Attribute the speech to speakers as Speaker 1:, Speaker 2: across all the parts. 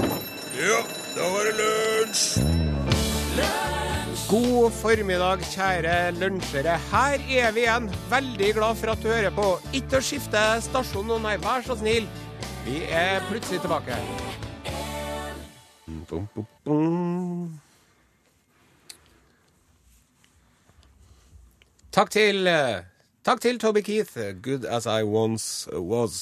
Speaker 1: Ja, da var det lunsj!
Speaker 2: God formiddag, kjære lunsjere. Her er vi igjen. Veldig glad for at du hører på. Ikke å skifte stasjon nå, nei, vær så snill. Vi er plutselig tilbake. Bum, bum, bum. Takk til eh, Takk til Toby Keith, Good As I Once Was.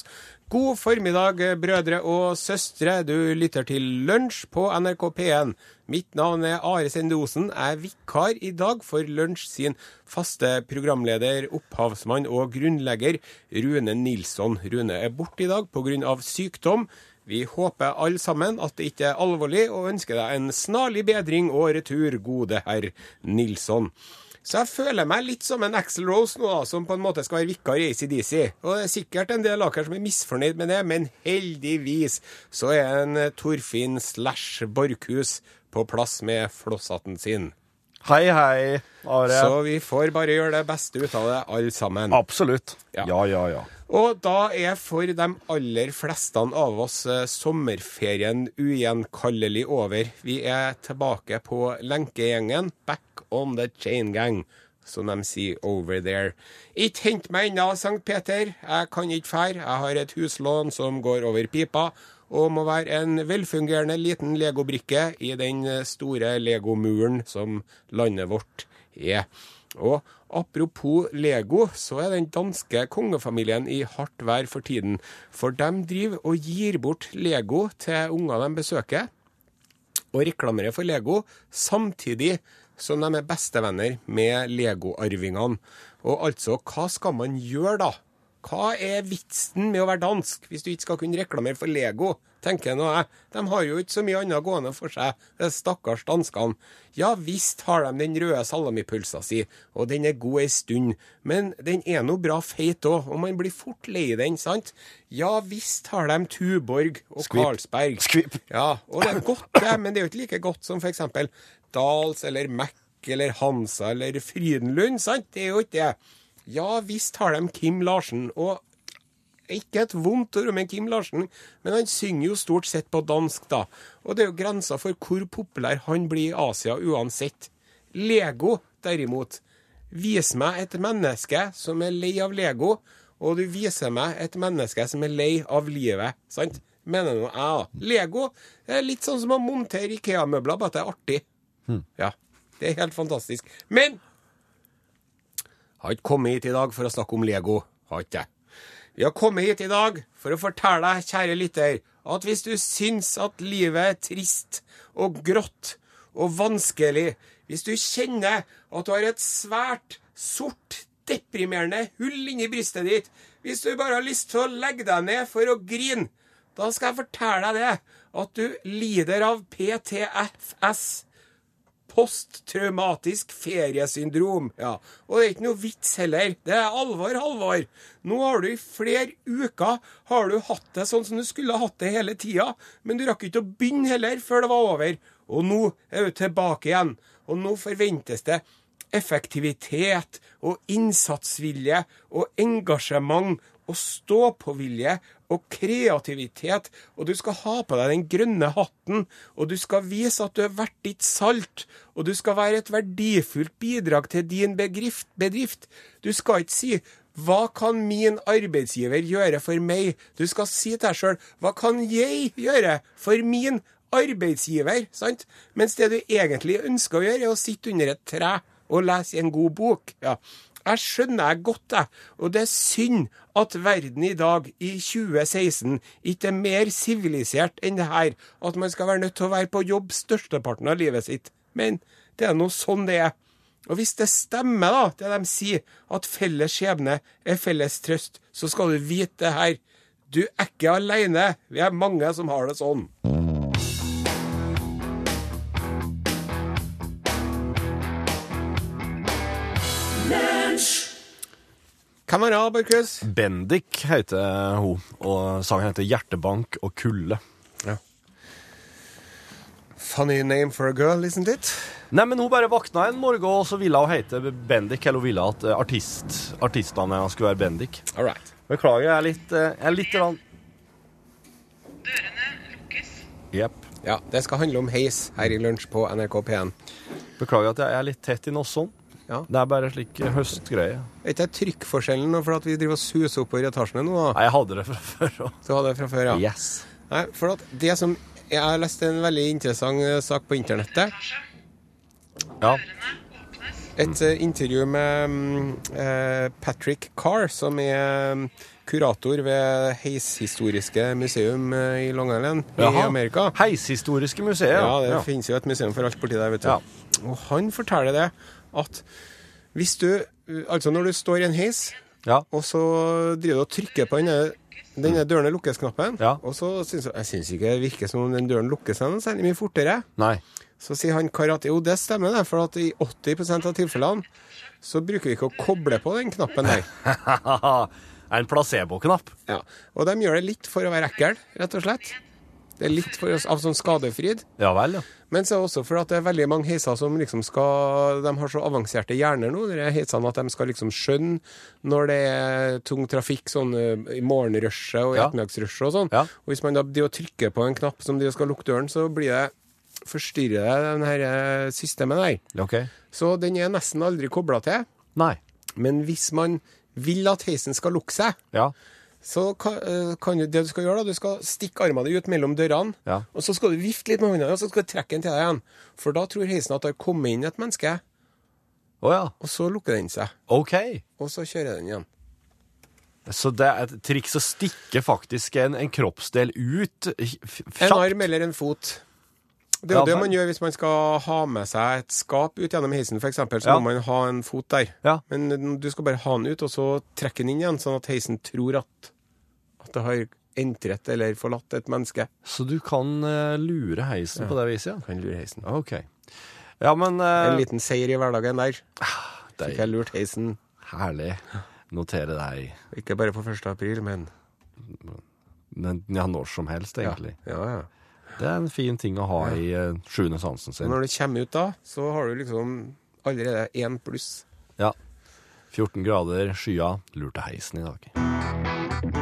Speaker 2: God formiddag, eh, brødre og søstre. Du lytter til Lunsj på NRK P1. Mitt navn er Are Sendosen. Jeg er vikar i dag for Lunsj sin faste programleder, opphavsmann og grunnlegger Rune Nilsson. Rune er borte i dag pga. sykdom. Vi håper alle sammen at det ikke er alvorlig, og ønsker deg en snarlig bedring og retur, gode herr Nilsson. Så jeg føler meg litt som en Axl Rose nå, da, som på en måte skal være vikar i ACDC. Og det er sikkert en del av dere som er misfornøyd med det, men heldigvis så er en eh, Torfinn slash Borchhus på plass med flosshatten sin.
Speaker 3: Hei, hei, Are.
Speaker 2: Så vi får bare gjøre det beste ut av det, alle sammen.
Speaker 3: Absolutt.
Speaker 2: Ja.
Speaker 3: Ja, ja, ja.
Speaker 2: Og da er for de aller fleste av oss eh, sommerferien ugjenkallelig over. Vi er tilbake på lenkegjengen. Back on the chain gang, som de sier over there. Ikke hent meg ennå, Sankt Peter. Jeg kan ikke fære. Jeg har et huslån som går over pipa. Og må være en velfungerende liten legobrikke i den eh, store legomuren som landet vårt er. Og apropos Lego, så er den danske kongefamilien i hardt vær for tiden. For de driver og gir bort Lego til unger de besøker, og reklamerer for Lego, samtidig som de er bestevenner med Lego-arvingene. Og altså, hva skal man gjøre da? Hva er vitsen med å være dansk hvis du ikke skal kunne reklamere for Lego? tenker nå jeg. De har jo ikke så mye annet gående for seg, de stakkars danskene. Ja visst har de den røde salamipølsa si, og den er god ei stund, men den er nå bra feit òg, og man blir fort lei den, sant? Ja visst har de Tuborg og
Speaker 3: Skvip.
Speaker 2: Carlsberg.
Speaker 3: Skvip.
Speaker 2: Ja, og det er godt, det, men det er jo ikke like godt som f.eks. Dals eller Mac eller Hansa eller Frydenlund, sant? Det er jo ikke det. Ja visst har de Kim Larsen, og ikke et vondt ord om en Kim Larsen, men han synger jo stort sett på dansk, da. Og det er jo grensa for hvor populær han blir i Asia uansett. Lego, derimot. Vis meg et menneske som er lei av Lego, og du viser meg et menneske som er lei av livet. Sant? Mener nå jeg, da. Lego det er litt sånn som å montere Ikea-møbler, bare at det er artig. Ja. Det er helt fantastisk. Men har ikke kommet hit i dag for å snakke om Lego. Har ikke jeg. Vi har kommet hit i dag for å fortelle deg, kjære lytter, at hvis du syns at livet er trist og grått og vanskelig, hvis du kjenner at du har et svært sort, deprimerende hull inni brystet ditt, hvis du bare har lyst til å legge deg ned for å grine, da skal jeg fortelle deg det, at du lider av PTFS posttraumatisk feriesyndrom. Ja. Og det er ikke noe vits heller. Det er alvor, alvor. Nå har du i flere uker har du hatt det sånn som du skulle ha hatt det hele tida, men du rakk ikke å begynne heller før det var over. Og nå er du tilbake igjen. Og nå forventes det effektivitet og innsatsvilje og engasjement og stå-på-vilje og kreativitet, og du skal ha på deg den grønne hatten, og du skal vise at du er verdt ditt salt, og du skal være et verdifullt bidrag til din bedrift. bedrift. Du skal ikke si 'Hva kan min arbeidsgiver gjøre for meg?' Du skal si til deg sjøl 'Hva kan jeg gjøre for min arbeidsgiver?' sant? Mens det du egentlig ønsker å gjøre, er å sitte under et tre og lese i en god bok. ja. Jeg skjønner jeg godt, jeg, og det er synd at verden i dag, i 2016, ikke er mer sivilisert enn det her, at man skal være nødt til å være på jobb størsteparten av livet sitt. Men det er nå sånn det er. Og hvis det stemmer, da, det de sier, at felles skjebne er felles trøst, så skal du vite det her. Du er ikke aleine. Vi er mange som har det sånn. Hvem er det, Borchhus?
Speaker 3: Bendik heter hun, og sangen heter Hjertebank og kulde.
Speaker 2: Funny name for a girl, isn't it?
Speaker 3: Nei, men hun bare vakna en morgen, og så ville hun hete Bendik, eller hun ville at eh, artist, artistene hennes skulle være Bendik.
Speaker 2: All right.
Speaker 3: Beklager, jeg er litt, eh, jeg er litt rann...
Speaker 4: Dørene lukkes.
Speaker 5: Jepp.
Speaker 2: Ja, det skal handle om heis her i lunsj på NRK P1.
Speaker 5: Beklager at jeg er litt tett i Nosson.
Speaker 2: Ja.
Speaker 5: Det er bare slik eh, høstgreie.
Speaker 2: Er ikke det trykkforskjellen nå, for at vi driver og suser oppover i etasjene nå? da?
Speaker 5: Nei, jeg hadde det fra før òg.
Speaker 2: Du hadde det fra før, ja.
Speaker 5: Yes.
Speaker 2: Nei, for at det som Jeg har lest en veldig interessant eh, sak på internettet.
Speaker 5: Ja.
Speaker 2: Et eh, intervju med mm, eh, Patrick Carr, som er mm, kurator ved Heishistoriske museum eh, i Long Island i
Speaker 5: Jaha.
Speaker 2: Amerika.
Speaker 5: Heishistoriske museet.
Speaker 2: Ja, det finnes jo et museum for alt borti der, vet du.
Speaker 5: Ja.
Speaker 2: Og han forteller det at hvis du Altså, når du står i en heis,
Speaker 5: Ja.
Speaker 2: og så driver du og trykker på denne, denne dørene lukkes-knappen,
Speaker 5: Ja.
Speaker 2: og så syns jeg syns ikke det virker som om den døren lukker seg noe særlig mye fortere.
Speaker 5: Nei.
Speaker 2: Så sier han kar at jo, det stemmer, det, for at i 80 av tilfellene så bruker vi ikke å koble på den knappen der.
Speaker 5: er en placebo-knapp.
Speaker 2: Ja. Og de gjør det litt for å være ekkel, rett og slett. Det er litt for, av sånn skadefryd.
Speaker 5: Ja vel, ja.
Speaker 2: Men så er det også for at det er veldig mange heiser som liksom skal De har så avanserte hjerner nå, de heisene, at de skal liksom skjønne når det er tung trafikk sånn eh, i morgenrushet og i
Speaker 5: Ja.
Speaker 2: ettermiddagsrushet og sånn.
Speaker 5: Ja.
Speaker 2: Og hvis man da driver og trykker på en knapp som de skal lukke døren, så blir det Forstyrrer det den her eh, systemet der.
Speaker 5: Ok.
Speaker 2: Så den er nesten aldri kobla til.
Speaker 5: Nei.
Speaker 2: Men hvis man vil at heisen skal lukke seg,
Speaker 5: Ja.
Speaker 2: så kan, eh, kan du, det du skal gjøre da, du skal stikke armene dine ut mellom dørene,
Speaker 5: Ja.
Speaker 2: og så skal du vifte litt med hånda, og så skal du trekke den til deg igjen. For da tror heisen at det har kommet inn et menneske,
Speaker 5: Å ja.
Speaker 2: og så lukker den seg.
Speaker 5: Ok.
Speaker 2: Og så kjører den igjen.
Speaker 5: Så det er et triks å stikke faktisk en, en kroppsdel ut eh, f-
Speaker 2: En
Speaker 5: kjapt.
Speaker 2: arm eller en fot. Det er
Speaker 5: Ja,
Speaker 2: jo det
Speaker 5: men-
Speaker 2: man gjør hvis man skal ha med seg et skap ut gjennom heisen, f.eks. Så
Speaker 5: Ja.
Speaker 2: må man ha en fot der.
Speaker 5: Ja.
Speaker 2: Men du skal bare ha den ut, og så trekke den inn igjen, sånn at heisen tror at, at det har entret eller forlatt et menneske.
Speaker 5: Så du kan eh, lure heisen på det viset, ja.
Speaker 2: Kan lure heisen.
Speaker 5: Ok. Ja, men eh,
Speaker 2: En liten seier i hverdagen der. Fikk
Speaker 5: deg,
Speaker 2: jeg lurt heisen.
Speaker 5: Herlig. Notere deg.
Speaker 2: Ikke bare på 1. april, men
Speaker 5: Men, ja, når som helst, egentlig.
Speaker 2: ja, ja.
Speaker 5: Det er en fin ting å ha i eh, sjuende sansen
Speaker 2: Og
Speaker 5: sin.
Speaker 2: Når du kommer ut da, så har du liksom allerede én pluss.
Speaker 5: Ja. 14 grader, skya, lurte heisen i dag.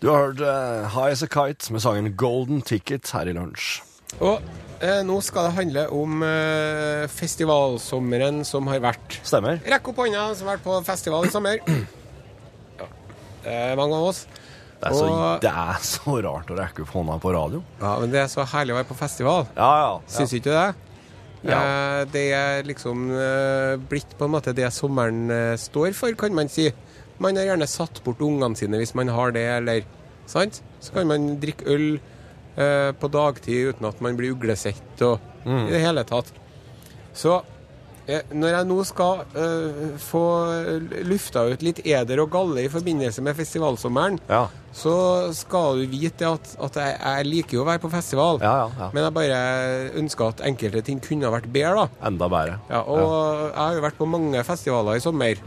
Speaker 5: Du har hørt eh, High As A Kite med sangen Golden Ticket her i lunsj.
Speaker 2: Og eh, nå skal det handle om eh, festivalsommeren som har vært.
Speaker 5: Stemmer.
Speaker 2: Rekk opp hånda som har vært på festival i sommer. Ja, det er mange av oss.
Speaker 5: Det er, så,
Speaker 2: Og-
Speaker 5: det er så rart å rekke opp hånda på radio.
Speaker 2: Ja, men det er så herlig å være på festival.
Speaker 5: Ja, ja. ja.
Speaker 2: Syns ikke du det?
Speaker 5: Ja.
Speaker 2: Eh, Det er liksom eh, blitt på en måte det sommeren eh, står for, kan man si. Man har gjerne satt bort ungene sine hvis man har det, eller sant? Så kan man drikke øl eh, på dagtid uten at man blir uglesett og
Speaker 5: Mm.
Speaker 2: i det hele tatt. Så eh, når jeg nå skal eh, få lufta ut litt eder og galle i forbindelse med festivalsommeren,
Speaker 5: Ja,
Speaker 2: så skal du vite at, at jeg, jeg liker jo å være på festival.
Speaker 5: ja, ja, ja.
Speaker 2: Men jeg bare ønsker at enkelte ting kunne ha vært bedre, da.
Speaker 5: Enda bedre.
Speaker 2: Ja, og jeg har jo vært på mange festivaler i sommer.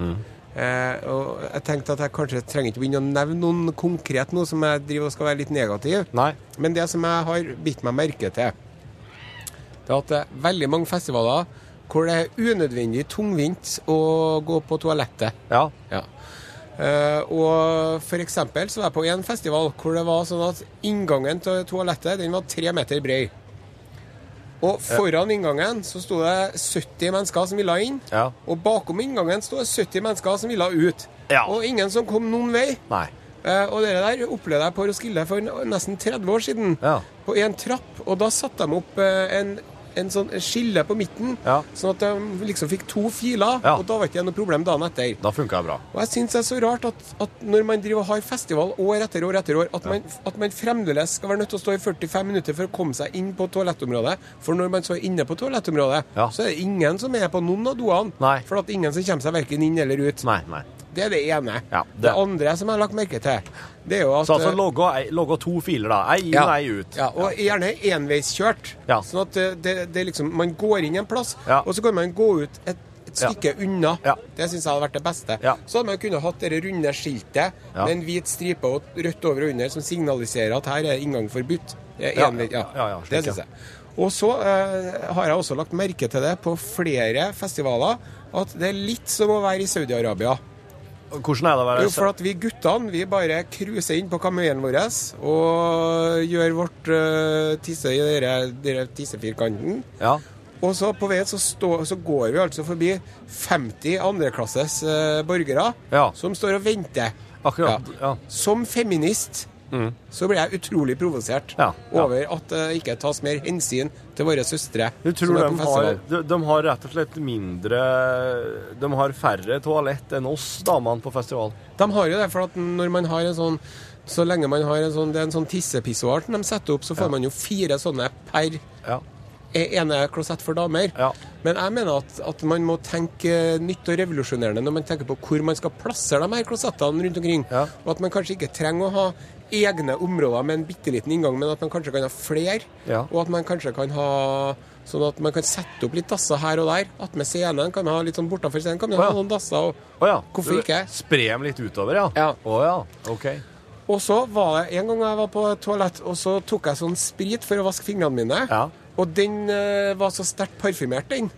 Speaker 2: Eh, og jeg tenkte at jeg kanskje trenger ikke begynne å nevne noen konkret nå som jeg driver og skal være litt negativ.
Speaker 5: Nei.
Speaker 2: Men det som jeg har bitt meg merke til, det er at det er veldig mange festivaler hvor det er unødvendig tungvint å gå på toalettet.
Speaker 5: Ja.
Speaker 2: Ja. Eh, og for eksempel så var jeg på en festival hvor det var sånn at inngangen til toalettet den var tre meter brei. Og foran inngangen så sto det 70 mennesker som ville inn.
Speaker 5: Ja.
Speaker 2: Og bakom inngangen sto det 70 mennesker som ville ut.
Speaker 5: Ja.
Speaker 2: Og ingen som kom noen vei.
Speaker 5: Nei.
Speaker 2: Eh, og det der opplevde jeg på Roskilde for nesten 30 år siden.
Speaker 5: Ja.
Speaker 2: På en trapp. Og da satte de opp eh, en, en sånn skille på midten,
Speaker 5: Ja.
Speaker 2: sånn at de liksom fikk to filer.
Speaker 5: Ja.
Speaker 2: Og da var ikke det noe problem dagen etter.
Speaker 5: Da funka det bra.
Speaker 2: Og jeg syns det er så rart at, at når man driver og har festival år etter år etter år, at man, at man fremdeles skal være nødt til å stå i 45 minutter for å komme seg inn på toalettområdet. For når man så er inne på toalettområdet,
Speaker 5: Ja.
Speaker 2: så er det ingen som er på noen av doene.
Speaker 5: Nei.
Speaker 2: For at ingen som kommer seg verken inn eller ut.
Speaker 5: Nei, nei.
Speaker 2: Det er det ene.
Speaker 5: Ja,
Speaker 2: det.
Speaker 5: det-
Speaker 2: andre som jeg har lagt merke til, det er jo at
Speaker 5: Så altså
Speaker 2: eh,
Speaker 5: logge, ei- logge to filer, da. Ei inn,
Speaker 2: ja.
Speaker 5: ei ut.
Speaker 2: Ja, og gjerne enveiskjørt.
Speaker 5: Ja.
Speaker 2: Sånn at eh, det, det er liksom, man går inn en plass,
Speaker 5: Ja.
Speaker 2: og så kan man gå ut et, et
Speaker 5: Ja.
Speaker 2: stykke unna.
Speaker 5: Ja.
Speaker 2: Det syns jeg hadde vært det beste.
Speaker 5: Ja.
Speaker 2: Så hadde man kunnet hatt det runde skiltet
Speaker 5: Ja.
Speaker 2: med en hvit stripe og rødt over og under som signaliserer at her er inngang forbudt. Det er
Speaker 5: Ja,
Speaker 2: envei- ja.
Speaker 5: ja, ja, slik,
Speaker 2: det syns
Speaker 5: ja.
Speaker 2: jeg. Og så eh, har jeg også lagt merke til det på flere festivaler at det er litt som å være i Saudi-Arabia.
Speaker 5: Hvordan er det å
Speaker 2: Jo,
Speaker 5: være
Speaker 2: for at vi guttene vi bare cruiser inn på kamelen vår og gjør vårt eh, tisse i dere- dere tissefirkanten.
Speaker 5: Ja.
Speaker 2: Og så på veien så, stå, så går vi altså forbi 50 andreklasses eh, borgere
Speaker 5: Ja.
Speaker 2: som står og venter.
Speaker 5: Akkurat.
Speaker 2: Ja.
Speaker 5: Ja. Mm.
Speaker 2: Som feminist så blir jeg utrolig provosert
Speaker 5: Ja, ja.
Speaker 2: over at det ikke tas mer hensyn til våre søstre.
Speaker 5: Du tror
Speaker 2: som er
Speaker 5: de
Speaker 2: på
Speaker 5: har,
Speaker 2: festival.
Speaker 5: de, de har rett og slett mindre De har færre toalett enn oss damene på festival.
Speaker 2: De har jo det, for at når man har en sånn så lenge man har en sånn, det er en sånn tissepissoar som de setter opp, så får man jo fire sånne per
Speaker 5: Ja.
Speaker 2: ene klosett for damer.
Speaker 5: Ja.
Speaker 2: Men jeg mener at, at man må tenke nytt og revolusjonerende når man tenker på hvor man skal plassere de her klosettene rundt omkring.
Speaker 5: Ja.
Speaker 2: Og at man kanskje ikke trenger å ha egne områder med en bitte liten inngang, men at man kanskje kan ha flere.
Speaker 5: Ja.
Speaker 2: Og at man kanskje kan ha Sånn at man kan sette opp litt dasser her og der. Attmed scenen kan man ha litt sånn bortenfor scenen kan man
Speaker 5: Å ja.
Speaker 2: ha noen dasser. Og,
Speaker 5: Å ja.
Speaker 2: Hvorfor ikke?
Speaker 5: Spre dem litt utover, ja?
Speaker 2: Ja.
Speaker 5: Å ja. OK.
Speaker 2: Og så var det en gang jeg var på et toalett, og så tok jeg sånn sprit for å vaske fingrene mine.
Speaker 5: Ja.
Speaker 2: Og den eh, var så sterkt parfymert, den.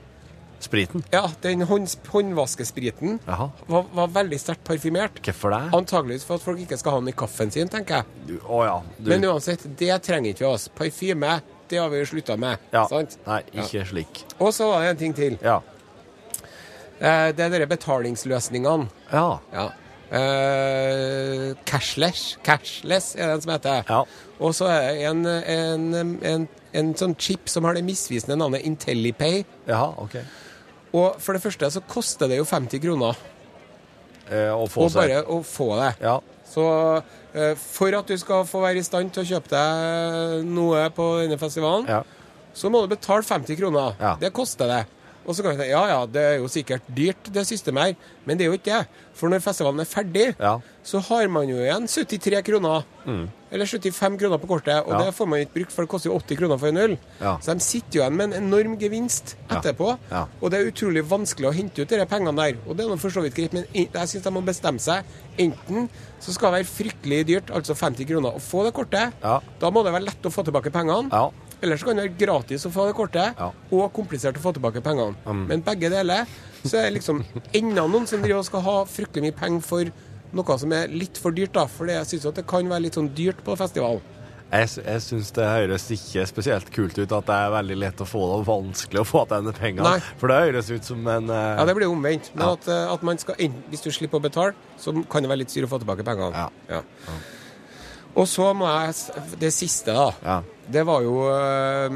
Speaker 5: Spriten.
Speaker 2: Ja, den hånds, håndvaskespriten
Speaker 5: Jaha.
Speaker 2: var, var veldig sterkt parfymert.
Speaker 5: Hvorfor det?
Speaker 2: Antageligvis for at folk ikke skal ha den i kaffen sin, tenker jeg.
Speaker 5: Du- Å ja. Du,
Speaker 2: Men uansett, det trenger ikke vi oss. Parfyme, det har vi jo slutta med.
Speaker 5: ja.
Speaker 2: Sant?
Speaker 5: Nei, ikke slik.
Speaker 2: Og så var det en ting til.
Speaker 5: Ja.
Speaker 2: Eh, Det er dere betalingsløsningene.
Speaker 5: Ja.
Speaker 2: Ja. Eh, cashless. Cashless er den som heter.
Speaker 5: Ja.
Speaker 2: Og så er det en, en, en, en sånn chip som har det misvisende navnet IntelliPay.
Speaker 5: Jaha, OK.
Speaker 2: Og for det første så koster det jo 50 kroner
Speaker 5: Eh, å få
Speaker 2: å
Speaker 5: seg
Speaker 2: bare å få det.
Speaker 5: Ja.
Speaker 2: Så eh, for at du skal få være i stand til å kjøpe deg noe på denne festivalen,
Speaker 5: Ja.
Speaker 2: så må du betale 50 kroner.
Speaker 5: Ja.
Speaker 2: Det koster det. Og så kan vi si ja, ja, det er jo sikkert dyrt, det systemet her, men det er jo ikke det. For når festivalen er ferdig,
Speaker 5: Ja.
Speaker 2: så har man jo igjen 73 kroner. Eller 75 kroner på kortet, og
Speaker 5: Mm. Ja.
Speaker 2: det får man ikke brukt, for det koster jo 80 kroner for en øl.
Speaker 5: Ja.
Speaker 2: Så de sitter jo igjen med en enorm gevinst etterpå,
Speaker 5: Ja.
Speaker 2: og det er utrolig vanskelig å hente ut de der pengene der. Og det er nå for så vidt greit, men en- jeg syns de må bestemme seg. Enten så skal det være fryktelig dyrt, altså 50 kroner, å få det kortet.
Speaker 5: Ja.
Speaker 2: Da må det være lett å få tilbake pengene.
Speaker 5: Ja.
Speaker 2: Ellers kan det være gratis å få det kortet,
Speaker 5: Ja. Mm.
Speaker 2: og komplisert å få tilbake pengene. Men begge deler, så er det liksom enda noen som driver og skal ha fryktelig mye penger for noe som er litt for dyrt, da. For jeg syns det kan være litt sånn dyrt på festival.
Speaker 5: Jeg, sy- jeg syns det høres ikke spesielt kult ut at det er veldig lett å få det, og vanskelig å få denne penga.
Speaker 2: Nei.
Speaker 5: For det høres ut som en eh,
Speaker 2: Ja, det blir jo omvendt. Men
Speaker 5: Ja.
Speaker 2: at, eh, at man skal enten- hvis du slipper å betale, så kan det være litt styr å få tilbake pengene.
Speaker 5: Ja.
Speaker 2: Og så må jeg s- Det siste, da.
Speaker 5: Ja.
Speaker 2: Det var jo eh,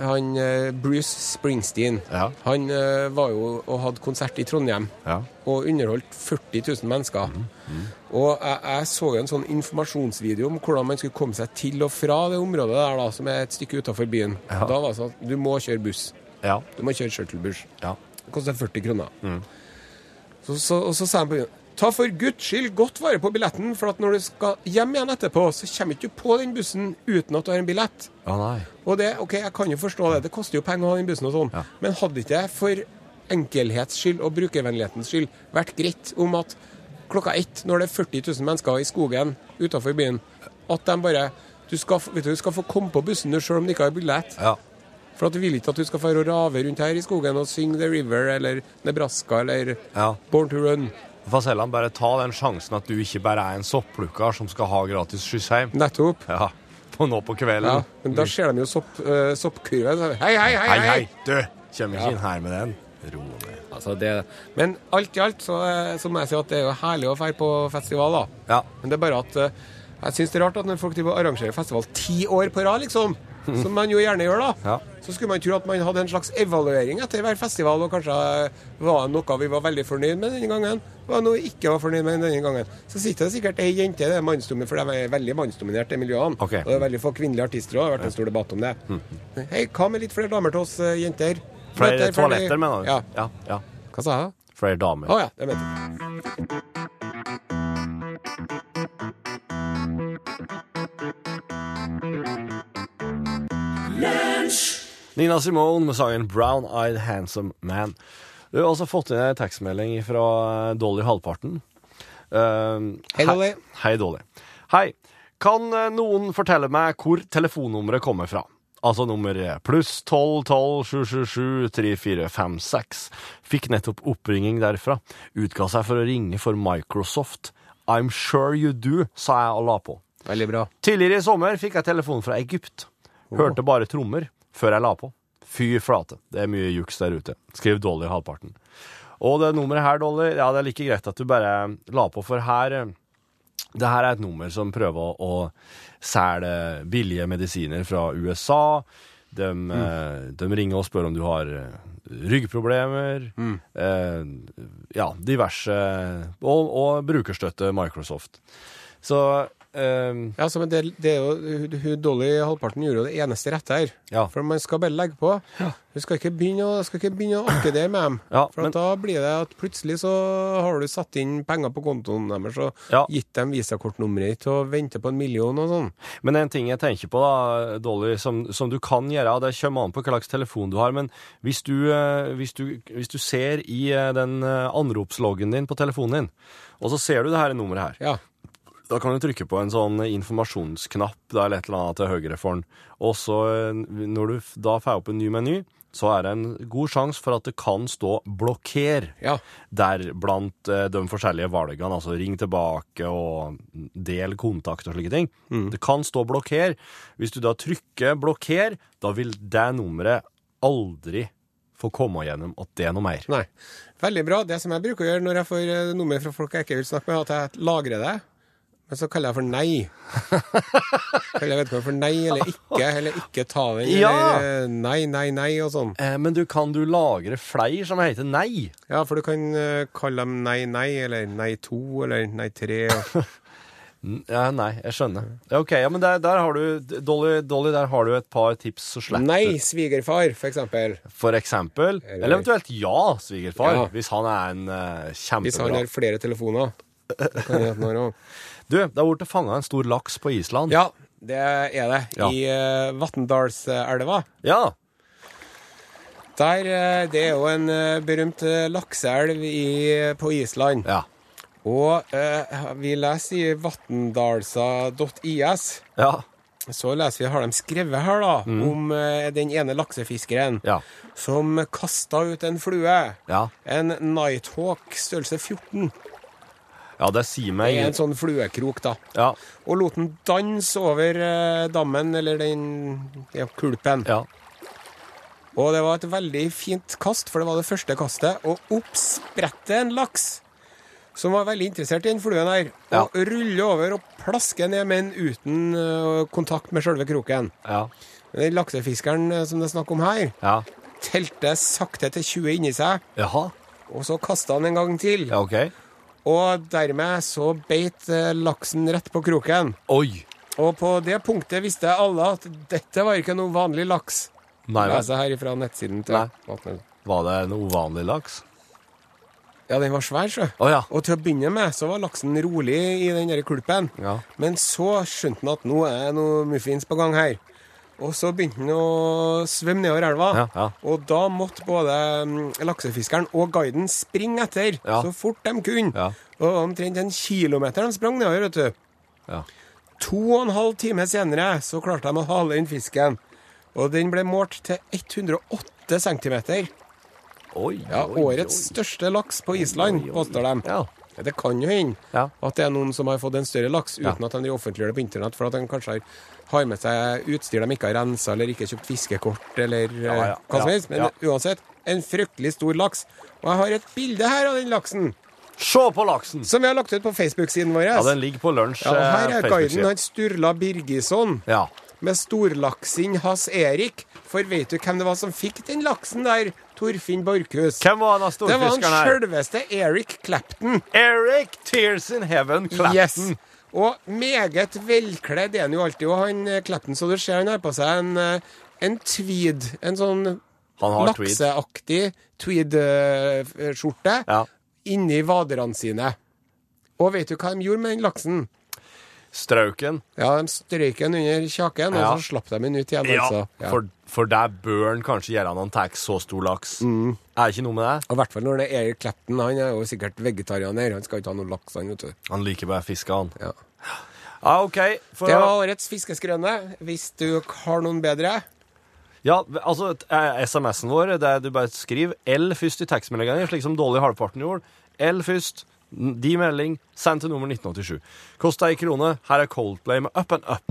Speaker 2: han eh, Bruce Springsteen.
Speaker 5: Ja.
Speaker 2: Han eh, var jo og hadde konsert i Trondheim.
Speaker 5: Ja.
Speaker 2: og underholdt 40 000 mennesker. Og jeg, jeg så jo en sånn informasjonsvideo om hvordan man skulle komme seg til og fra det området der, da, som er et stykke utafor byen.
Speaker 5: Ja.
Speaker 2: Da var det sånn at du må kjøre buss.
Speaker 5: Ja.
Speaker 2: Du må kjøre shuttlebuss.
Speaker 5: Ja.
Speaker 2: Det koster 40 kroner. Så, så, og så sa han på byen Ta for guds skyld godt vare på billetten, for at når du skal hjem igjen etterpå, så kommer ikke du på den bussen uten at du har en billett.
Speaker 5: Å nei.
Speaker 2: Og det, ok, jeg kan jo forstå det. Det koster jo penger å ha den bussen og sånn.
Speaker 5: Ja.
Speaker 2: Men hadde ikke jeg for enkelhets skyld og brukervennlighetens skyld vært greit om at klokka ett, når det er 40 000 mennesker i skogen utenfor byen, at de bare du skal, få- vet du, du skal få komme på bussen du selv om du ikke har billett.
Speaker 5: Ja.
Speaker 2: For at du vil ikke at du skal få rave rundt her i skogen og synge The River eller Nebraska eller
Speaker 5: Ja.
Speaker 2: Born to Run.
Speaker 5: Fasellan, bare ta den sjansen at du ikke bare er en sopplukker som skal ha gratis skyss hjem.
Speaker 2: Nettopp.
Speaker 5: Ja, på nå på
Speaker 2: Ja,
Speaker 5: kvelden.
Speaker 2: men da ser de jo sopp, eh, soppkurven. så, Hei, hei, hei!
Speaker 5: Mm. Hei,
Speaker 2: hei.
Speaker 5: hei, du! Kjem ikke inn her med den. Ro ned.
Speaker 2: Altså det, men alt i alt så, eh, så må jeg si at det er jo herlig å dra på festival, da.
Speaker 5: Ja.
Speaker 2: Men det er bare at eh, jeg syns det er rart at når folk driver og arrangerer festival ti år på rad, liksom, som man jo gjerne gjør, da,
Speaker 5: Ja.
Speaker 2: så skulle man tro at man hadde en slags evaluering etter hver festival, og kanskje eh, var det noe vi var veldig fornøyd med denne gangen, var det noe vi ikke var fornøyd med denne gangen. Så sitter det sikkert ei jente, det er mannsdomi- for de er veldig mannsdominerte, de miljøene.
Speaker 5: Ok. Mm.
Speaker 2: Og det er veldig få kvinnelige artister òg, det har vært en stor debatt om det. Hei, hva med litt flere damer til oss eh, jenter?
Speaker 5: Flere
Speaker 2: Jenter, ferdig.
Speaker 5: toaletter, mener du?
Speaker 2: Ja.
Speaker 5: ja. ja.
Speaker 2: Hva sa jeg? da?
Speaker 5: Flere damer.
Speaker 2: Å ja, det mente jeg.
Speaker 5: Nina Simone med sangen 'Brown Eyed Handsome Man'. Du har også fått inn en tekstmelding fra Dolly Halvparten. Eh,
Speaker 2: Hei, Dolly.
Speaker 5: Hei, Dolly. Hei. Kan eh, noen fortelle meg hvor telefonnummeret kommer fra? altså nummeret pluss 12 12 777 3456, fikk nettopp oppringning derfra. Utga seg for å ringe for Microsoft. I'm sure you do, sa jeg og la på.
Speaker 2: Veldig bra.
Speaker 5: Tidligere i sommer fikk jeg telefon fra Egypt. Hørte bare trommer før jeg la på. Fy flate, det er mye juks der ute. Skriv Dolly halvparten. Og det nummeret her, Dolly, ja, det er like greit at du bare la på, for her eh, Det her er et nummer som prøver å selge billige medisiner fra USA. De, eh, de ringer og spør om du har eh, ryggproblemer. Eh, ja, diverse Og, og brukerstøtte Microsoft. Så eh,
Speaker 2: Ja, så, men det, det er jo, hun- hun Dolly halvparten gjorde jo det eneste rette her.
Speaker 5: Ja.
Speaker 2: For man skal bare legge på. Hun skal ikke begynne å, skal ikke begynne å akkedere med dem.
Speaker 5: Ja,
Speaker 2: for
Speaker 5: men-
Speaker 2: at da blir det at plutselig så har du satt inn penger på kontoen deres og
Speaker 5: Ja.
Speaker 2: gitt dem visakortnummeret ditt og venter på en million og sånn.
Speaker 5: Men en ting jeg tenker på, da, Dolly, som, som du kan gjøre, og det kommer an på hva slags telefon du har, men hvis du, eh, hvis du, hvis du ser i eh, den eh, anropsloggen din på telefonen din, og så ser du det her nummeret her,
Speaker 2: Ja.
Speaker 5: da kan du trykke på en sånn informasjonsknapp da, eller et eller annet til høyre for den. Og så eh, når du f- da får opp en ny meny, så er det en god sjanse for at det kan stå 'blokker'
Speaker 2: Ja.
Speaker 5: der blant eh, de forskjellige valgene, altså ring tilbake og del kontakt og slike ting. Det kan stå 'blokker'. Hvis du da trykker 'blokker', da vil det nummeret aldri få komme gjennom at det er noe mer.
Speaker 2: Nei. Veldig bra. Det som jeg bruker å gjøre når jeg får eh, nummer fra folk jeg ikke vil snakke med, er at jeg lagrer det. Men så kaller jeg for nei. Kaller jeg vedkommende for nei eller ikke, eller ikke ta den,
Speaker 5: Ja.
Speaker 2: eller eh, nei, nei, nei og sånn.
Speaker 5: Eh, Men du kan du lagre flere som heter nei?
Speaker 2: Ja, for du kan eh, kalle dem nei, nei, eller nei to, eller nei tre. og-
Speaker 5: Ja, nei, jeg skjønner. Ja, Ok, ja, men der, der har du Dolly, Dolly, der har du et par tips så slett.
Speaker 2: Nei, svigerfar, for eksempel.
Speaker 5: For eksempel.
Speaker 2: Eller-
Speaker 5: Eller eventuelt ja, svigerfar,
Speaker 2: Ja.
Speaker 5: hvis han er en eh,
Speaker 2: Hvis han
Speaker 5: kjempebra
Speaker 2: har flere telefoner. Det kan jeg gjøre når også.
Speaker 5: Du, det har blitt fanga en stor laks på Island.
Speaker 2: Ja, det er det.
Speaker 5: Ja.
Speaker 2: I uh, Vatndalselva.
Speaker 5: Ja.
Speaker 2: Der, eh, det er jo en eh, berømt eh, lakseelv i- eh, på Island.
Speaker 5: Ja.
Speaker 2: Og eh, vi leser i vatndalsa.is,
Speaker 5: Ja.
Speaker 2: så leser vi, har de skrevet her, da, om eh, den ene laksefiskeren
Speaker 5: Ja.
Speaker 2: som kasta ut en flue.
Speaker 5: Ja.
Speaker 2: En Nighthawk størrelse 14.
Speaker 5: ja, det sier
Speaker 2: Det
Speaker 5: meg
Speaker 2: er en sånn fluekrok, da.
Speaker 5: Ja.
Speaker 2: Og lot den danse over eh, dammen, eller den ja, kulpen.
Speaker 5: ja.
Speaker 2: Og det var et veldig fint kast, for det var det første kastet. Og opps, sprettet en laks som var veldig interessert i den fluen her.
Speaker 5: Ja.
Speaker 2: Og ruller over og plasker ned med den uten ø, kontakt med sjølve kroken.
Speaker 5: Ja.
Speaker 2: Men Den laksefiskeren ø, som det er snakk om her,
Speaker 5: Ja.
Speaker 2: telte sakte til 20 inni seg,
Speaker 5: Jaha.
Speaker 2: og så kasta han en gang til.
Speaker 5: Ja, OK.
Speaker 2: Og dermed så beit ø, laksen rett på kroken.
Speaker 5: Oi.
Speaker 2: Og på det punktet visste alle at dette var ikke noe vanlig laks.
Speaker 5: Nei vel.
Speaker 2: Leser her ifra nettsiden
Speaker 5: Nei.
Speaker 2: til Vatnet.
Speaker 5: Var det en uvanlig laks?
Speaker 2: Ja, den var svær, sjø.
Speaker 5: Å ja.
Speaker 2: Og til å begynne med så var laksen rolig i den der kulpen.
Speaker 5: Ja.
Speaker 2: Men så skjønte han at nå er det noe muffins på gang her. Og så begynte han å svømme nedover elva.
Speaker 5: Ja, ja.
Speaker 2: Og da måtte både mm, laksefiskeren og guiden springe etter
Speaker 5: Ja.
Speaker 2: så fort de kunne.
Speaker 5: Ja.
Speaker 2: Og omtrent en kilometer de sprang nedover, vet du.
Speaker 5: Ja.
Speaker 2: To og en halv time senere så klarte de å hale inn fisken. Og den ble målt til 108 cm.
Speaker 5: Oi.
Speaker 2: Ja,
Speaker 5: oi,
Speaker 2: årets
Speaker 5: oi.
Speaker 2: største laks på Island, påstår de.
Speaker 5: Ja.
Speaker 2: Ja, Det kan jo hende
Speaker 5: Ja.
Speaker 2: at det er noen som har fått en større laks uten
Speaker 5: Ja.
Speaker 2: at de offentliggjør det på internett, for at de kanskje har, har med seg utstyr de ikke har rensa, eller ikke kjøpt fiskekort, eller eh,
Speaker 5: ja,
Speaker 2: hva som
Speaker 5: ja,
Speaker 2: helst. Men
Speaker 5: ja.
Speaker 2: uansett, en fryktelig stor laks. Og jeg har et bilde her av den laksen,
Speaker 5: Se på laksen!
Speaker 2: som vi har lagt ut på Facebook-siden vår.
Speaker 5: Ja, den ligger på lunsj.
Speaker 2: Ja, og
Speaker 5: eh,
Speaker 2: her er guiden
Speaker 5: Facebook-side.
Speaker 2: han Sturla Birgisson
Speaker 5: Ja.
Speaker 2: med storlaksen Hans Erik. For vet du hvem det var som fikk den laksen der? Torfinn Borchhus.
Speaker 5: Hvem var den
Speaker 2: Det var han
Speaker 5: storfiskeren her?
Speaker 2: sjølveste Eric Clapton.
Speaker 5: Eric Tears in Heaven Clapton.
Speaker 2: Yes. Og meget velkledd er han jo alltid, og han eh, Clapton, så du ser han har på seg en, eh, en tweed, en sånn
Speaker 5: Han har tweed.
Speaker 2: lakseaktig tweed-skjorte
Speaker 5: Ja.
Speaker 2: inni vaderne sine. Og vet du hva de gjorde med den laksen?
Speaker 5: Strauken.
Speaker 2: Ja, De strøyk den under kjaken,
Speaker 5: Ja.
Speaker 2: og så slapp de den ut igjen.
Speaker 5: Ja,
Speaker 2: altså. Ja.
Speaker 5: for, for der bør han kanskje gjøre noen tar så stor laks.
Speaker 2: Mm.
Speaker 5: Er det ikke noe med det?
Speaker 2: Og I hvert fall når det er Eric Clapton. Han er jo sikkert vegetarianer. Han skal ikke ha noe laks, han, vet du.
Speaker 5: Han liker bare fiska, han.
Speaker 2: Ja.
Speaker 5: Ja, OK. For
Speaker 2: Det
Speaker 5: å-
Speaker 2: var årets fiskeskrøne. Hvis du har noen bedre
Speaker 5: Ja, altså eh, SMS-en vår, det er du bare skriver L først i tekstmeldingene, slik som Dolly Halvparten gjorde. L først, n- de melding, send til nummer 1987. Kosta ei krone, her er Coldplay med Up and Up.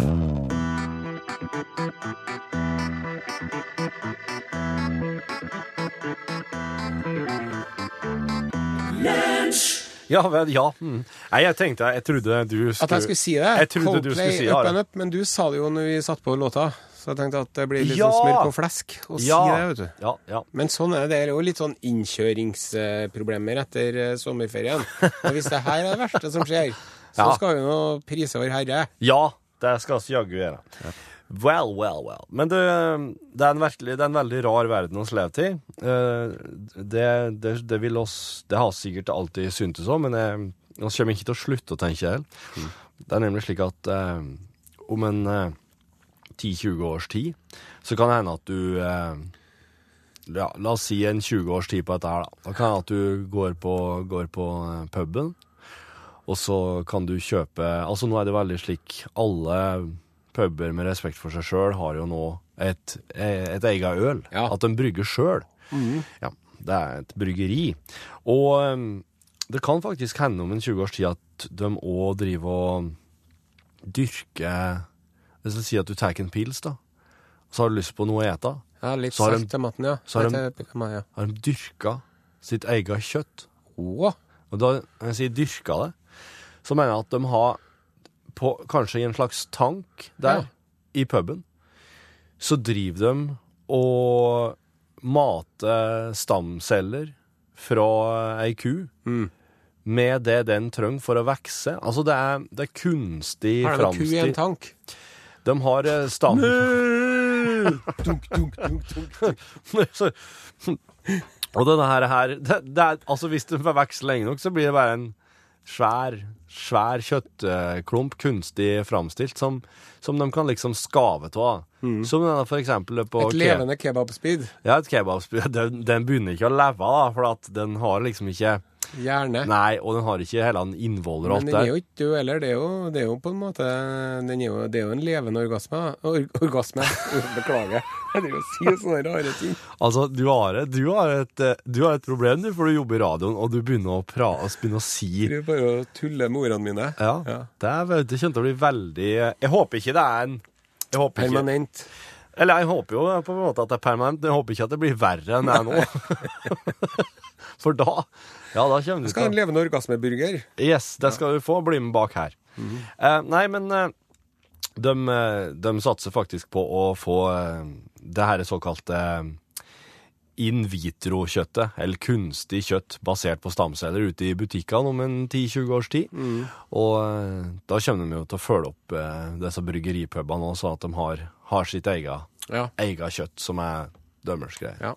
Speaker 5: Ja, vel, ja. Mm. Nei, jeg tenkte, jeg trodde du skulle
Speaker 2: At jeg skulle si det?
Speaker 5: Jeg trodde du skulle si
Speaker 2: up
Speaker 5: Are.
Speaker 2: and up, men du sa det jo når vi satt på låta, så jeg tenkte at det blir litt
Speaker 5: Ja!
Speaker 2: sånn smør på flesk å
Speaker 5: ja,
Speaker 2: si det, vet du.
Speaker 5: Ja, ja.
Speaker 2: Men sånn er det. Det er jo litt sånn innkjøringsproblemer etter eh, sommerferien. Og hvis det her er det verste som skjer, så
Speaker 5: Ja.
Speaker 2: skal vi nå prise vår Herre.
Speaker 5: Ja, det skal vi jaggu gjøre. Well, well, well. Men det, det, er en virkelig, det er en veldig rar verden vi lever i. Eh, Det, det, det vil oss Det har sikkert alltid syntes om, men eh, vi kommer ikke til å slutte å tenke heller. Det er nemlig slik at eh, om en eh, 10-20 års tid, så kan det hende at du eh, ja, La oss si en 20 års tid på dette her, da. Da kan det hende at du går på, går på eh, puben, og så kan du kjøpe Altså nå er det veldig slik Alle puber med respekt for seg sjøl har jo nå et, et eget øl.
Speaker 2: Ja.
Speaker 5: At de brygger sjøl. Ja, det er et bryggeri. Og eh, det kan faktisk hende om en 20 års tid at de òg driver og dyrker Hvis du sier at du tar en pils, da, så har du lyst på noe å ete.
Speaker 2: Ja, litt
Speaker 5: Så har de-
Speaker 2: salt til maten, ja.
Speaker 5: så har de-
Speaker 2: Litt, eh, ja.
Speaker 5: Har de dyrka sitt eget kjøtt?
Speaker 2: Å,
Speaker 5: Og da når jeg sier dyrka det, så mener jeg at de har på, Kanskje i en slags tank der,
Speaker 2: Ja.
Speaker 5: i puben, så driver de og mater stamceller fra ei ku
Speaker 2: Mm.
Speaker 5: med det den trenger for å vokse. Altså, det er, det er kunstig
Speaker 2: Har de en ku i en
Speaker 5: framstilt.
Speaker 2: tank?
Speaker 5: De har eh, stam...
Speaker 2: Dunk, dunk, dunk, dunk.
Speaker 5: Så- og denne her, her det, det er, Altså, hvis det får vokse lenge nok, så blir det bare en svær, svær kjøttklump, kunstig framstilt, som, som de kan liksom skave av. Som denne, for eksempel på
Speaker 2: Mm. Et
Speaker 5: ke-
Speaker 2: levende kebabspyd.
Speaker 5: Ja, et kebabspyd. Den, den begynner ikke å leve, da, for at den har liksom ikke
Speaker 2: Gjerne.
Speaker 5: Nei, og den har ikke hele den innvoller
Speaker 2: Men
Speaker 5: og alt
Speaker 2: den er
Speaker 5: der.
Speaker 2: jo ikke død heller. Det er jo, det er jo på en måte den er jo, Det er jo en levende orgasme. Or, orgasme. Beklager. Jeg driver og sier sånne rare ting.
Speaker 5: Altså, du har, et, du, har et, eh, du har et problem, du, for du jobber i radioen, og du begynner å, pra, og begynner å si
Speaker 2: Jeg driver bare å tulle med ordene mine.
Speaker 5: Ja,
Speaker 2: Ja.
Speaker 5: Det, er, vel- det kommer til å bli veldig eh, Jeg håper ikke det er en jeg håper ikke,
Speaker 2: Permanent.
Speaker 5: Eller jeg håper jo på en måte at det er permanent, men jeg håper ikke at det blir verre enn det er nå. For da Ja, da kommer du
Speaker 2: Skal ha en
Speaker 5: til å
Speaker 2: levende orgasmeburger.
Speaker 5: Yes, det skal du få. Bli med bak her. eh, nei, men eh, de, eh, de satser faktisk på å få eh, det her såkalte eh, in vitro-kjøttet, eller kunstig kjøtt basert på stamceller, ute i butikkene om en 10-20 års tid. Og eh, da kommer de jo til å følge opp eh, disse bryggeripubene nå, sånn at de har, har sitt eget,
Speaker 2: Ja.
Speaker 5: eget kjøtt, som er dømmers greier.
Speaker 2: ja.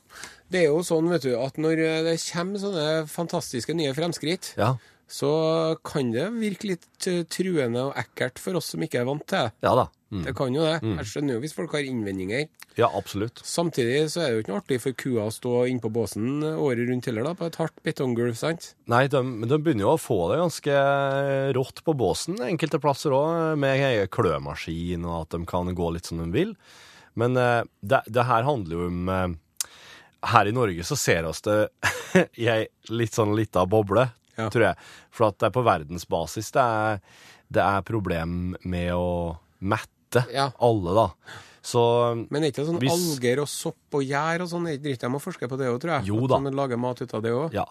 Speaker 2: Det er jo sånn, vet du, at når det kommer sånne fantastiske nye fremskritt,
Speaker 5: Ja.
Speaker 2: så kan det virke litt eh, truende og ekkelt for oss som ikke er vant til det.
Speaker 5: ja da. Mm.
Speaker 2: Det kan jo det. Jeg skjønner jo hvis folk har innvendinger.
Speaker 5: Ja, absolutt.
Speaker 2: Samtidig så er det jo ikke noe artig for kua å stå innpå båsen året rundt heller, da, på et hardt betonggulv, sant?
Speaker 5: Nei, de, men de begynner jo å få det ganske eh, rått på båsen enkelte plasser òg, med egen klømaskin og at de kan gå litt som de vil. Men eh, det, det her handler jo om eh, Her i Norge så ser oss det i ei litt sånn lita boble,
Speaker 2: Ja.
Speaker 5: tror jeg. For at det er på verdensbasis det er, det er problem med å mette
Speaker 2: Ja.
Speaker 5: alle, da. Så
Speaker 2: Men er ikke det sånn
Speaker 5: Hvis-
Speaker 2: alger og sopp og gjær og sånn? Er ikke dritt de å forske på det òg, tror jeg?
Speaker 5: Jo
Speaker 2: At
Speaker 5: da.
Speaker 2: de lager mat ut av det òg?
Speaker 5: Ja.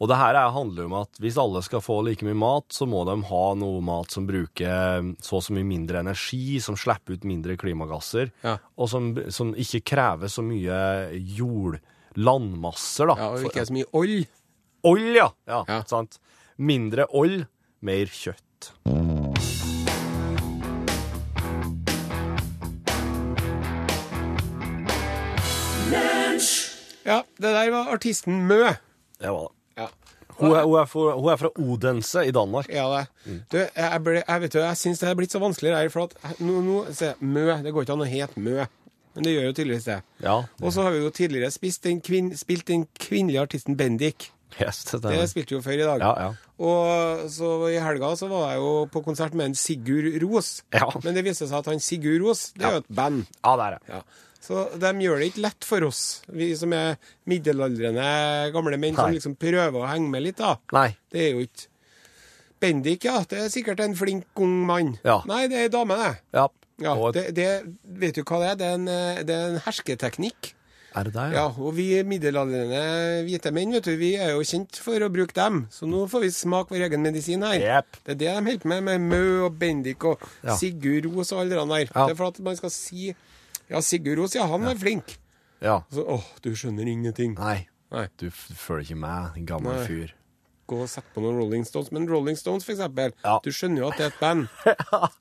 Speaker 5: Og det her er- handler jo om at hvis alle skal få like mye mat, så må de ha noe mat som bruker eh, så og så mye mindre energi, som slipper ut mindre klimagasser,
Speaker 2: Ja.
Speaker 5: og som, som ikke krever så mye jord, landmasser, da.
Speaker 2: Ja, og
Speaker 5: For-
Speaker 2: ikke så mye old.
Speaker 5: Oll, ja. ja!
Speaker 2: Ja.
Speaker 5: Sant. Mindre oll, mer kjøtt.
Speaker 2: Ja, det der var artisten Mø.
Speaker 5: Det var det.
Speaker 2: Ja,
Speaker 5: Hun er, hun, er fra, hun er fra Odense i Danmark.
Speaker 2: ja det.
Speaker 5: Mm.
Speaker 2: Du, jeg, ble, jeg vet jo, jeg syns det er blitt så vanskelig det her, for at jeg- nå, nå se, Mø, det går ikke an å hete Mø. Men det gjør jo tydeligvis det.
Speaker 5: Ja.
Speaker 2: Og så har vi jo tidligere spist den kvinn, spilt den kvinnelige artisten Bendik.
Speaker 5: Yes, det
Speaker 2: Det
Speaker 5: er det.
Speaker 2: spilte vi jo før i dag.
Speaker 5: Ja, ja.
Speaker 2: Og så i helga så var jeg jo på konsert med en Sigurd Ros.
Speaker 5: Ja.
Speaker 2: Men det viste seg at han Sigurd Ros, det er jo et band.
Speaker 5: Ja, det er det.
Speaker 2: Ja. Så de gjør det ikke lett for oss, vi som er middelaldrende gamle menn som
Speaker 5: Nei.
Speaker 2: liksom prøver å henge med litt, da.
Speaker 5: Nei.
Speaker 2: Det er jo ikke Bendik, ja. Det er sikkert en flink ung mann.
Speaker 5: Ja.
Speaker 2: Nei, det er ei dame, det.
Speaker 5: Ja.
Speaker 2: Ja,
Speaker 5: Og-
Speaker 2: det, det. Vet du hva det er? Det er en, eh, det er en hersketeknikk.
Speaker 5: Er det deg?
Speaker 2: Ja, og vi middelaldrende hvite menn, vet du, vi er jo kjent for å bruke dem. Så nå får vi smake vår egen medisin her.
Speaker 5: Jepp.
Speaker 2: Det er det de holder på med, med Mø og Bendik og
Speaker 5: Ja.
Speaker 2: Sigurd Ros og alle de der.
Speaker 5: Ja.
Speaker 2: Det er for at man skal si Ja, Sigurd Ros, ja, han er flink.
Speaker 5: Ja.
Speaker 2: Og Så, åh, du skjønner ingenting.
Speaker 5: Nei.
Speaker 2: Nei.
Speaker 5: Du f føler ikke meg, din gamle
Speaker 2: Nei.
Speaker 5: fyr.
Speaker 2: Gå og sett på noen Rolling Stones. Men Rolling Stones, for eksempel,
Speaker 5: Ja.
Speaker 2: du skjønner jo at det er et band.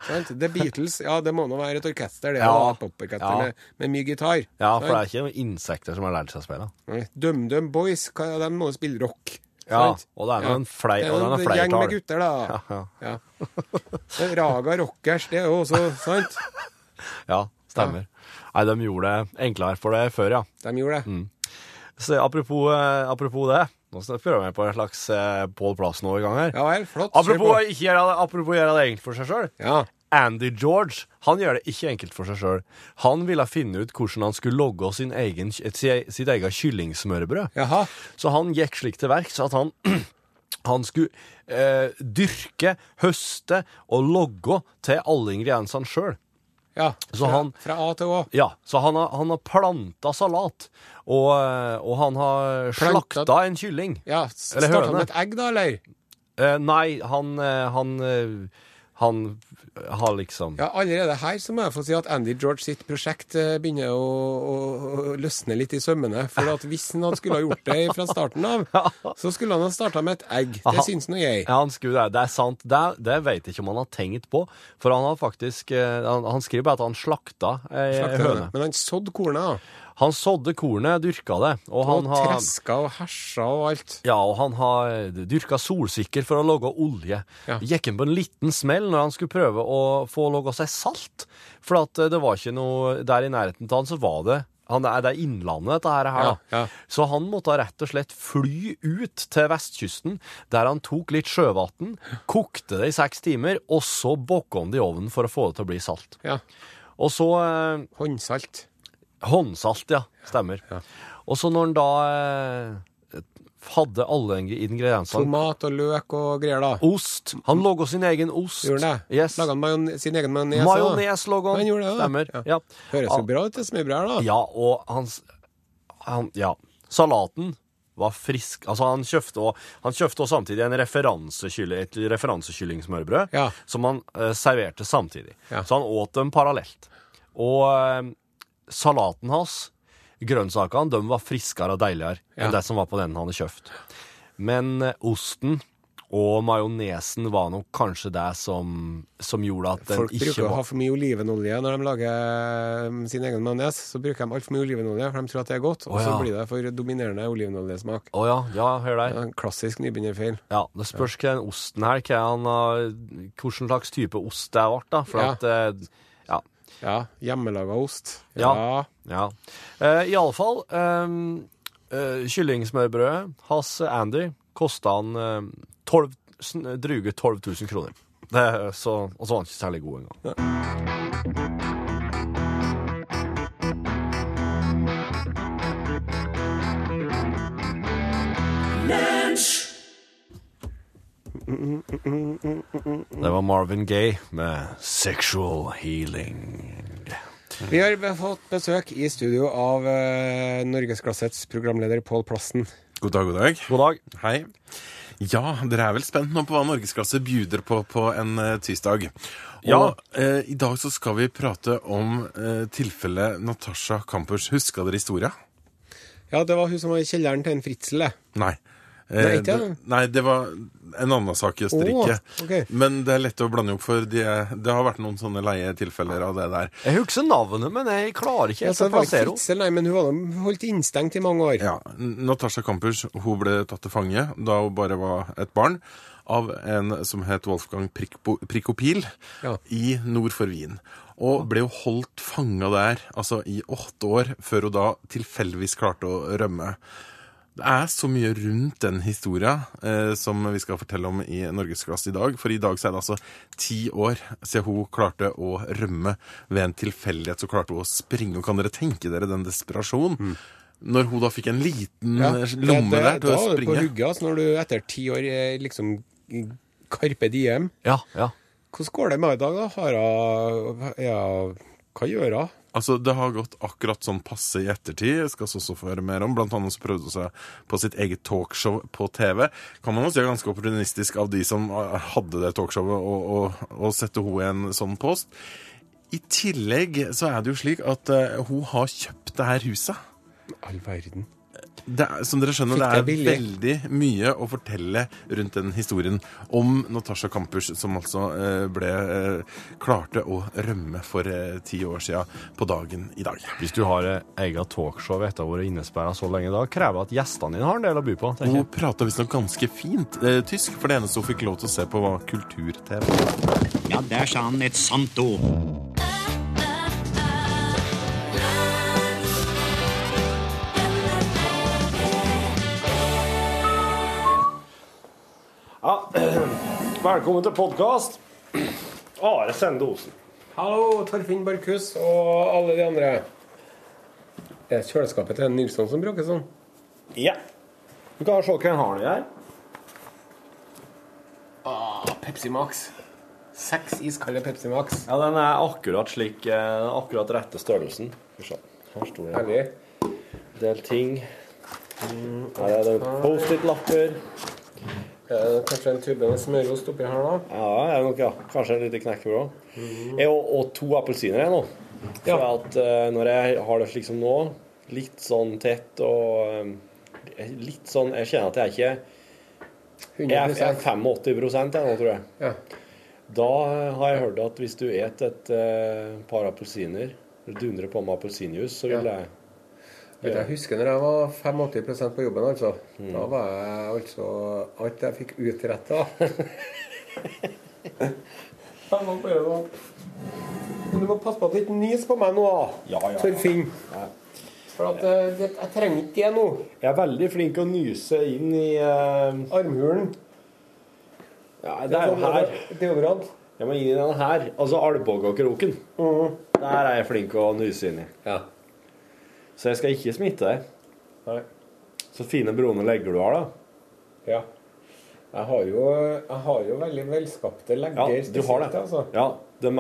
Speaker 2: Sant? The Beatles, ja, det må nå være et orkester, det.
Speaker 5: Ja.
Speaker 2: da, et Poporkester
Speaker 5: Ja.
Speaker 2: med, med mye gitar.
Speaker 5: Ja, for det
Speaker 2: Sant?
Speaker 5: er ikke noen insekter som har lært seg å spille.
Speaker 2: Nei. DumDum Boys, hva, ja, de må jo spille rock.
Speaker 5: Ja,
Speaker 2: sant?
Speaker 5: og det er noen flei-
Speaker 2: Det er
Speaker 5: og det er
Speaker 2: noen
Speaker 5: noen
Speaker 2: gjeng med
Speaker 5: flertall.
Speaker 2: gutter, da.
Speaker 5: Ja.
Speaker 2: Ja. Men Raga Rockers, det er jo også sant.
Speaker 5: Ja, stemmer. Nei, de gjorde det enklere for det før, ja.
Speaker 2: De gjorde det.
Speaker 5: Så apropos, eh, apropos det, nå skal jeg prøve meg på en slags eh, Pål Plassen-overgang her.
Speaker 2: Ja vel, flott. kjør
Speaker 5: Apropos,
Speaker 2: på.
Speaker 5: ikke gjøre det, apropos gjøre det enkelt for seg sjøl.
Speaker 2: Ja.
Speaker 5: Andy George han gjør det ikke enkelt for seg sjøl. Han ville finne ut hvordan han skulle logge sin egen, et- sitt eget kyllingsmørbrød.
Speaker 2: Jaha.
Speaker 5: Så han gikk slik til verks at han, han skulle eh, dyrke, høste og logge til alle ingrediensene sjøl.
Speaker 2: Ja.
Speaker 5: Så han-
Speaker 2: Sånn, Fra A til Å.
Speaker 5: Ja, så han har, han har planta salat, og, eh, og han har
Speaker 2: Planta-
Speaker 5: slakta en kylling.
Speaker 2: Ja, s-
Speaker 5: Eller
Speaker 2: Starta han
Speaker 5: høne.
Speaker 2: med et egg, da, eller?
Speaker 5: Eh, nei, han eh, han, eh, han har liksom
Speaker 2: Ja, Allerede her så må jeg få si at Andy George sitt prosjekt eh, begynner å, å, å løsne litt i sømmene. For at hvis han hadde skulle ha gjort det fra starten av, så skulle han ha starta med et egg. Det syns nå jeg.
Speaker 5: Ja, han skriver det. Det er sant. Det, det vet jeg ikke om han har tenkt på. For han har faktisk eh, Han, han skriver bare at han slakta ei
Speaker 2: Slakta
Speaker 5: høne.
Speaker 2: høne. Men han sådde kornet, da.
Speaker 5: Han sådde kornet, dyrka det,
Speaker 2: Og
Speaker 5: og han har
Speaker 2: treska og hersa og alt.
Speaker 5: ja, og han har dyrka solsikker for å lage olje.
Speaker 2: Ja.
Speaker 5: Gikk han på en liten smell når han skulle prøve å få laga seg salt. For at eh, det var ikke noe Der i nærheten av han så var det han, Det er Innlandet, dette her. da.
Speaker 2: Ja, ja.
Speaker 5: Så han måtte rett og slett fly ut til vestkysten, der han tok litt sjøvann, kokte det i seks timer, og så bokka han det i ovnen for å få det til å bli salt.
Speaker 2: Ja.
Speaker 5: Og så eh,
Speaker 2: Håndsalt.
Speaker 5: Håndsalt, ja. Stemmer. Og så når han da eh, hadde alle ingrediensene
Speaker 2: Tomat og løk og greier, da.
Speaker 5: Ost. Han laga sin egen ost.
Speaker 2: Gjorde han det?
Speaker 5: Yes.
Speaker 2: Laga han majon- sin egen majones? også, da?
Speaker 5: Majones laga
Speaker 2: Han
Speaker 5: han.
Speaker 2: gjorde det, da.
Speaker 5: Stemmer.
Speaker 2: Ja.
Speaker 5: Ja.
Speaker 2: Høres jo bra ut, det smørbrødet her, da.
Speaker 5: Ja, og hans han, Ja. Salaten var frisk. Altså, han kjøpte og, han kjøpte og samtidig en referansekylling, et referansekyllingsmørbrød
Speaker 2: Ja.
Speaker 5: som han eh, serverte samtidig.
Speaker 2: Ja.
Speaker 5: Så han åt dem parallelt. Og eh, salaten hans, grønnsakene, de var friskere og deiligere
Speaker 2: Ja.
Speaker 5: enn det som var på den han hadde kjøpt. Men eh, osten og majonesen var nok kanskje det som, som gjorde at den
Speaker 2: Folk bruker
Speaker 5: ikke
Speaker 2: å ha
Speaker 5: var
Speaker 2: for mye olivenolje når de lager um, sin egen majones. Så bruker de altfor mye olivenolje, for de tror at det er godt. Og
Speaker 5: Å,
Speaker 2: så
Speaker 5: ja.
Speaker 2: blir det for dominerende olivenoljesmak.
Speaker 5: Å ja, ja, hør der.
Speaker 2: Det er en Klassisk nybegynnerfeil.
Speaker 5: Ja, det spørs hva den osten her hva han har, Hvilken slags type ost det ble, da. For
Speaker 2: Ja.
Speaker 5: at eh, Ja.
Speaker 2: Ja. Hjemmelaga ost.
Speaker 5: Ja. ja. Eh, Iallfall eh, eh, Kyllingsmørbrødet hans eh, Andy kosta han eh, 12, sn- dryge 12 000 kroner. Det, er så, og så var han ikke særlig god engang. Det var Marvin Gaye med 'Sexual Healing'.
Speaker 2: Vi har be- fått besøk i studio av eh, Norgesklassets programleder Pål Plassen.
Speaker 1: God dag, god dag.
Speaker 5: God dag.
Speaker 1: Hei. Ja, dere er vel spent nå på hva norgesklasse bjuder på på en eh, tirsdag. Og
Speaker 5: Ja.
Speaker 1: eh, i dag så skal vi prate om eh, tilfellet Natasha Campers. Huska dere historia?
Speaker 2: Ja, det var hun som var i kjelleren til en Fritzel, det.
Speaker 1: Nei. Eh,
Speaker 2: Nei, ikke
Speaker 1: det,
Speaker 2: jeg.
Speaker 1: nei, det var en annen sak i Østerrike.
Speaker 2: Å, ok.
Speaker 1: Men det er lett å blande opp, for de, er- det har vært noen sånne leie tilfeller av det der.
Speaker 5: Jeg husker navnet, men jeg klarer ikke
Speaker 2: Ja,
Speaker 5: helt
Speaker 2: så
Speaker 5: å
Speaker 2: det var ikke
Speaker 5: plassere henne.
Speaker 2: Fritzel, nei, men hun var nå holdt innstengt i mange år.
Speaker 1: Ja, Natasha Kampers hun ble tatt til fange da hun bare var et barn av en som het Wolfgang Prikpo, Prikopil
Speaker 2: Ja.
Speaker 1: i nord for Wien. Og ble jo holdt fanga der altså i åtte år før hun da tilfeldigvis klarte å rømme. Det er så mye rundt den historia eh, som vi skal fortelle om i Norgesklasse i dag. For i dag så er det altså ti år siden hun klarte å rømme. Ved en tilfeldighet så klarte hun å springe. Og kan dere tenke dere den desperasjonen? Når hun da fikk en liten
Speaker 2: Mm. Ja,
Speaker 1: eh,
Speaker 2: det-
Speaker 1: lomme
Speaker 2: det-
Speaker 1: der til
Speaker 2: da
Speaker 1: å
Speaker 2: er du på
Speaker 1: springe.
Speaker 2: rugga, altså, når du etter ti år eh, liksom Karpe Diem.
Speaker 6: Ja, ja.
Speaker 2: Hvordan går det med henne i dag, da? Har hun Ja, hva gjør hun?
Speaker 1: Altså, Det har gått akkurat sånn passe i ettertid. Jeg skal også få høre mer om. Blant annet så prøvde hun seg på sitt eget talkshow på TV. Kan man jo si er ganske opportunistisk av de som eh, hadde det talkshowet, å- å- å sette henne i en sånn post. I tillegg så er det jo slik at eh, hun har kjøpt det her huset.
Speaker 2: All verden.
Speaker 1: Det er, som dere skjønner, det
Speaker 2: Fikk
Speaker 1: er
Speaker 2: det
Speaker 1: veldig mye å fortelle rundt den historien om Natasha Kampusch, som altså eh, ble eh, klarte å rømme for eh, ti år sia på dagen i dag.
Speaker 6: Hvis du har eh, eget talkshow etter å ha vært innesperra så lenge, da krever jeg at gjestene dine har en del å by på. tenker
Speaker 1: Hun
Speaker 6: jeg.
Speaker 1: prata visstnok ganske fint eh, tysk, for det eneste hun fikk lov til å se på, var kultur-TV.
Speaker 4: Ja, der sa han et sant ord.
Speaker 5: Velkommen til podkast. Are Sende Osen.
Speaker 2: Hallo, Torfinn Barkhus og alle de andre. Det er kjøleskapet til Nilsson som bråker sånn.
Speaker 5: Ja. Du kan se hva han har nå her.
Speaker 2: Pepsi Max. Seks iskalde Pepsi Max.
Speaker 5: Ja, Den er akkurat slik eh, Akkurat rette størrelsen. Skal vi se. Her står det
Speaker 2: Herlig.
Speaker 5: en del ting. Mm, Her er det Post-It-lapper.
Speaker 2: Eh, Kanskje en tube med smørost oppi her, da.
Speaker 5: Ja, er det nok, ja. Kanskje en liten knekkebrød. Jeg har og to appelsiner jeg nå. For at eh, når jeg har det slik som nå, litt sånn tett og eh, Litt sånn Jeg kjenner at jeg er ikke Jeg er
Speaker 2: 100
Speaker 5: 85 jeg nå, tror jeg.
Speaker 2: ja.
Speaker 5: Da har jeg hørt at hvis du et et eh, par appelsiner, eller dundrer på med appelsinjuice, så vil
Speaker 2: Ja.
Speaker 5: jeg
Speaker 2: Vet du, Jeg husker når jeg var 85 på jobben, altså. Da var jeg altså Alt jeg fikk utretta. Men du må passe på at det ikke nys på meg nå, da.
Speaker 5: Ja, ja, ja.
Speaker 2: Torfinn. For at, eh, det, jeg trenger ikke det nå.
Speaker 5: Jeg er veldig flink å nyse inn i eh, sånn-
Speaker 2: Armhulen. Sånn
Speaker 5: Ja, det er jo her.
Speaker 2: Deodorant.
Speaker 5: Jeg må inn i den her. Altså Albogakroken. Mhm. Der er jeg flink å nyse inn i.
Speaker 2: Ja.
Speaker 5: Så jeg skal ikke smitte deg.
Speaker 2: Nei.
Speaker 5: Så fine brune legger du har, da.
Speaker 2: Ja. Jeg har jo, jeg har jo veldig velskapte
Speaker 5: Ja,
Speaker 2: legger.
Speaker 5: du har
Speaker 2: spesielt,
Speaker 5: det.
Speaker 2: Altså.
Speaker 5: Ja, de er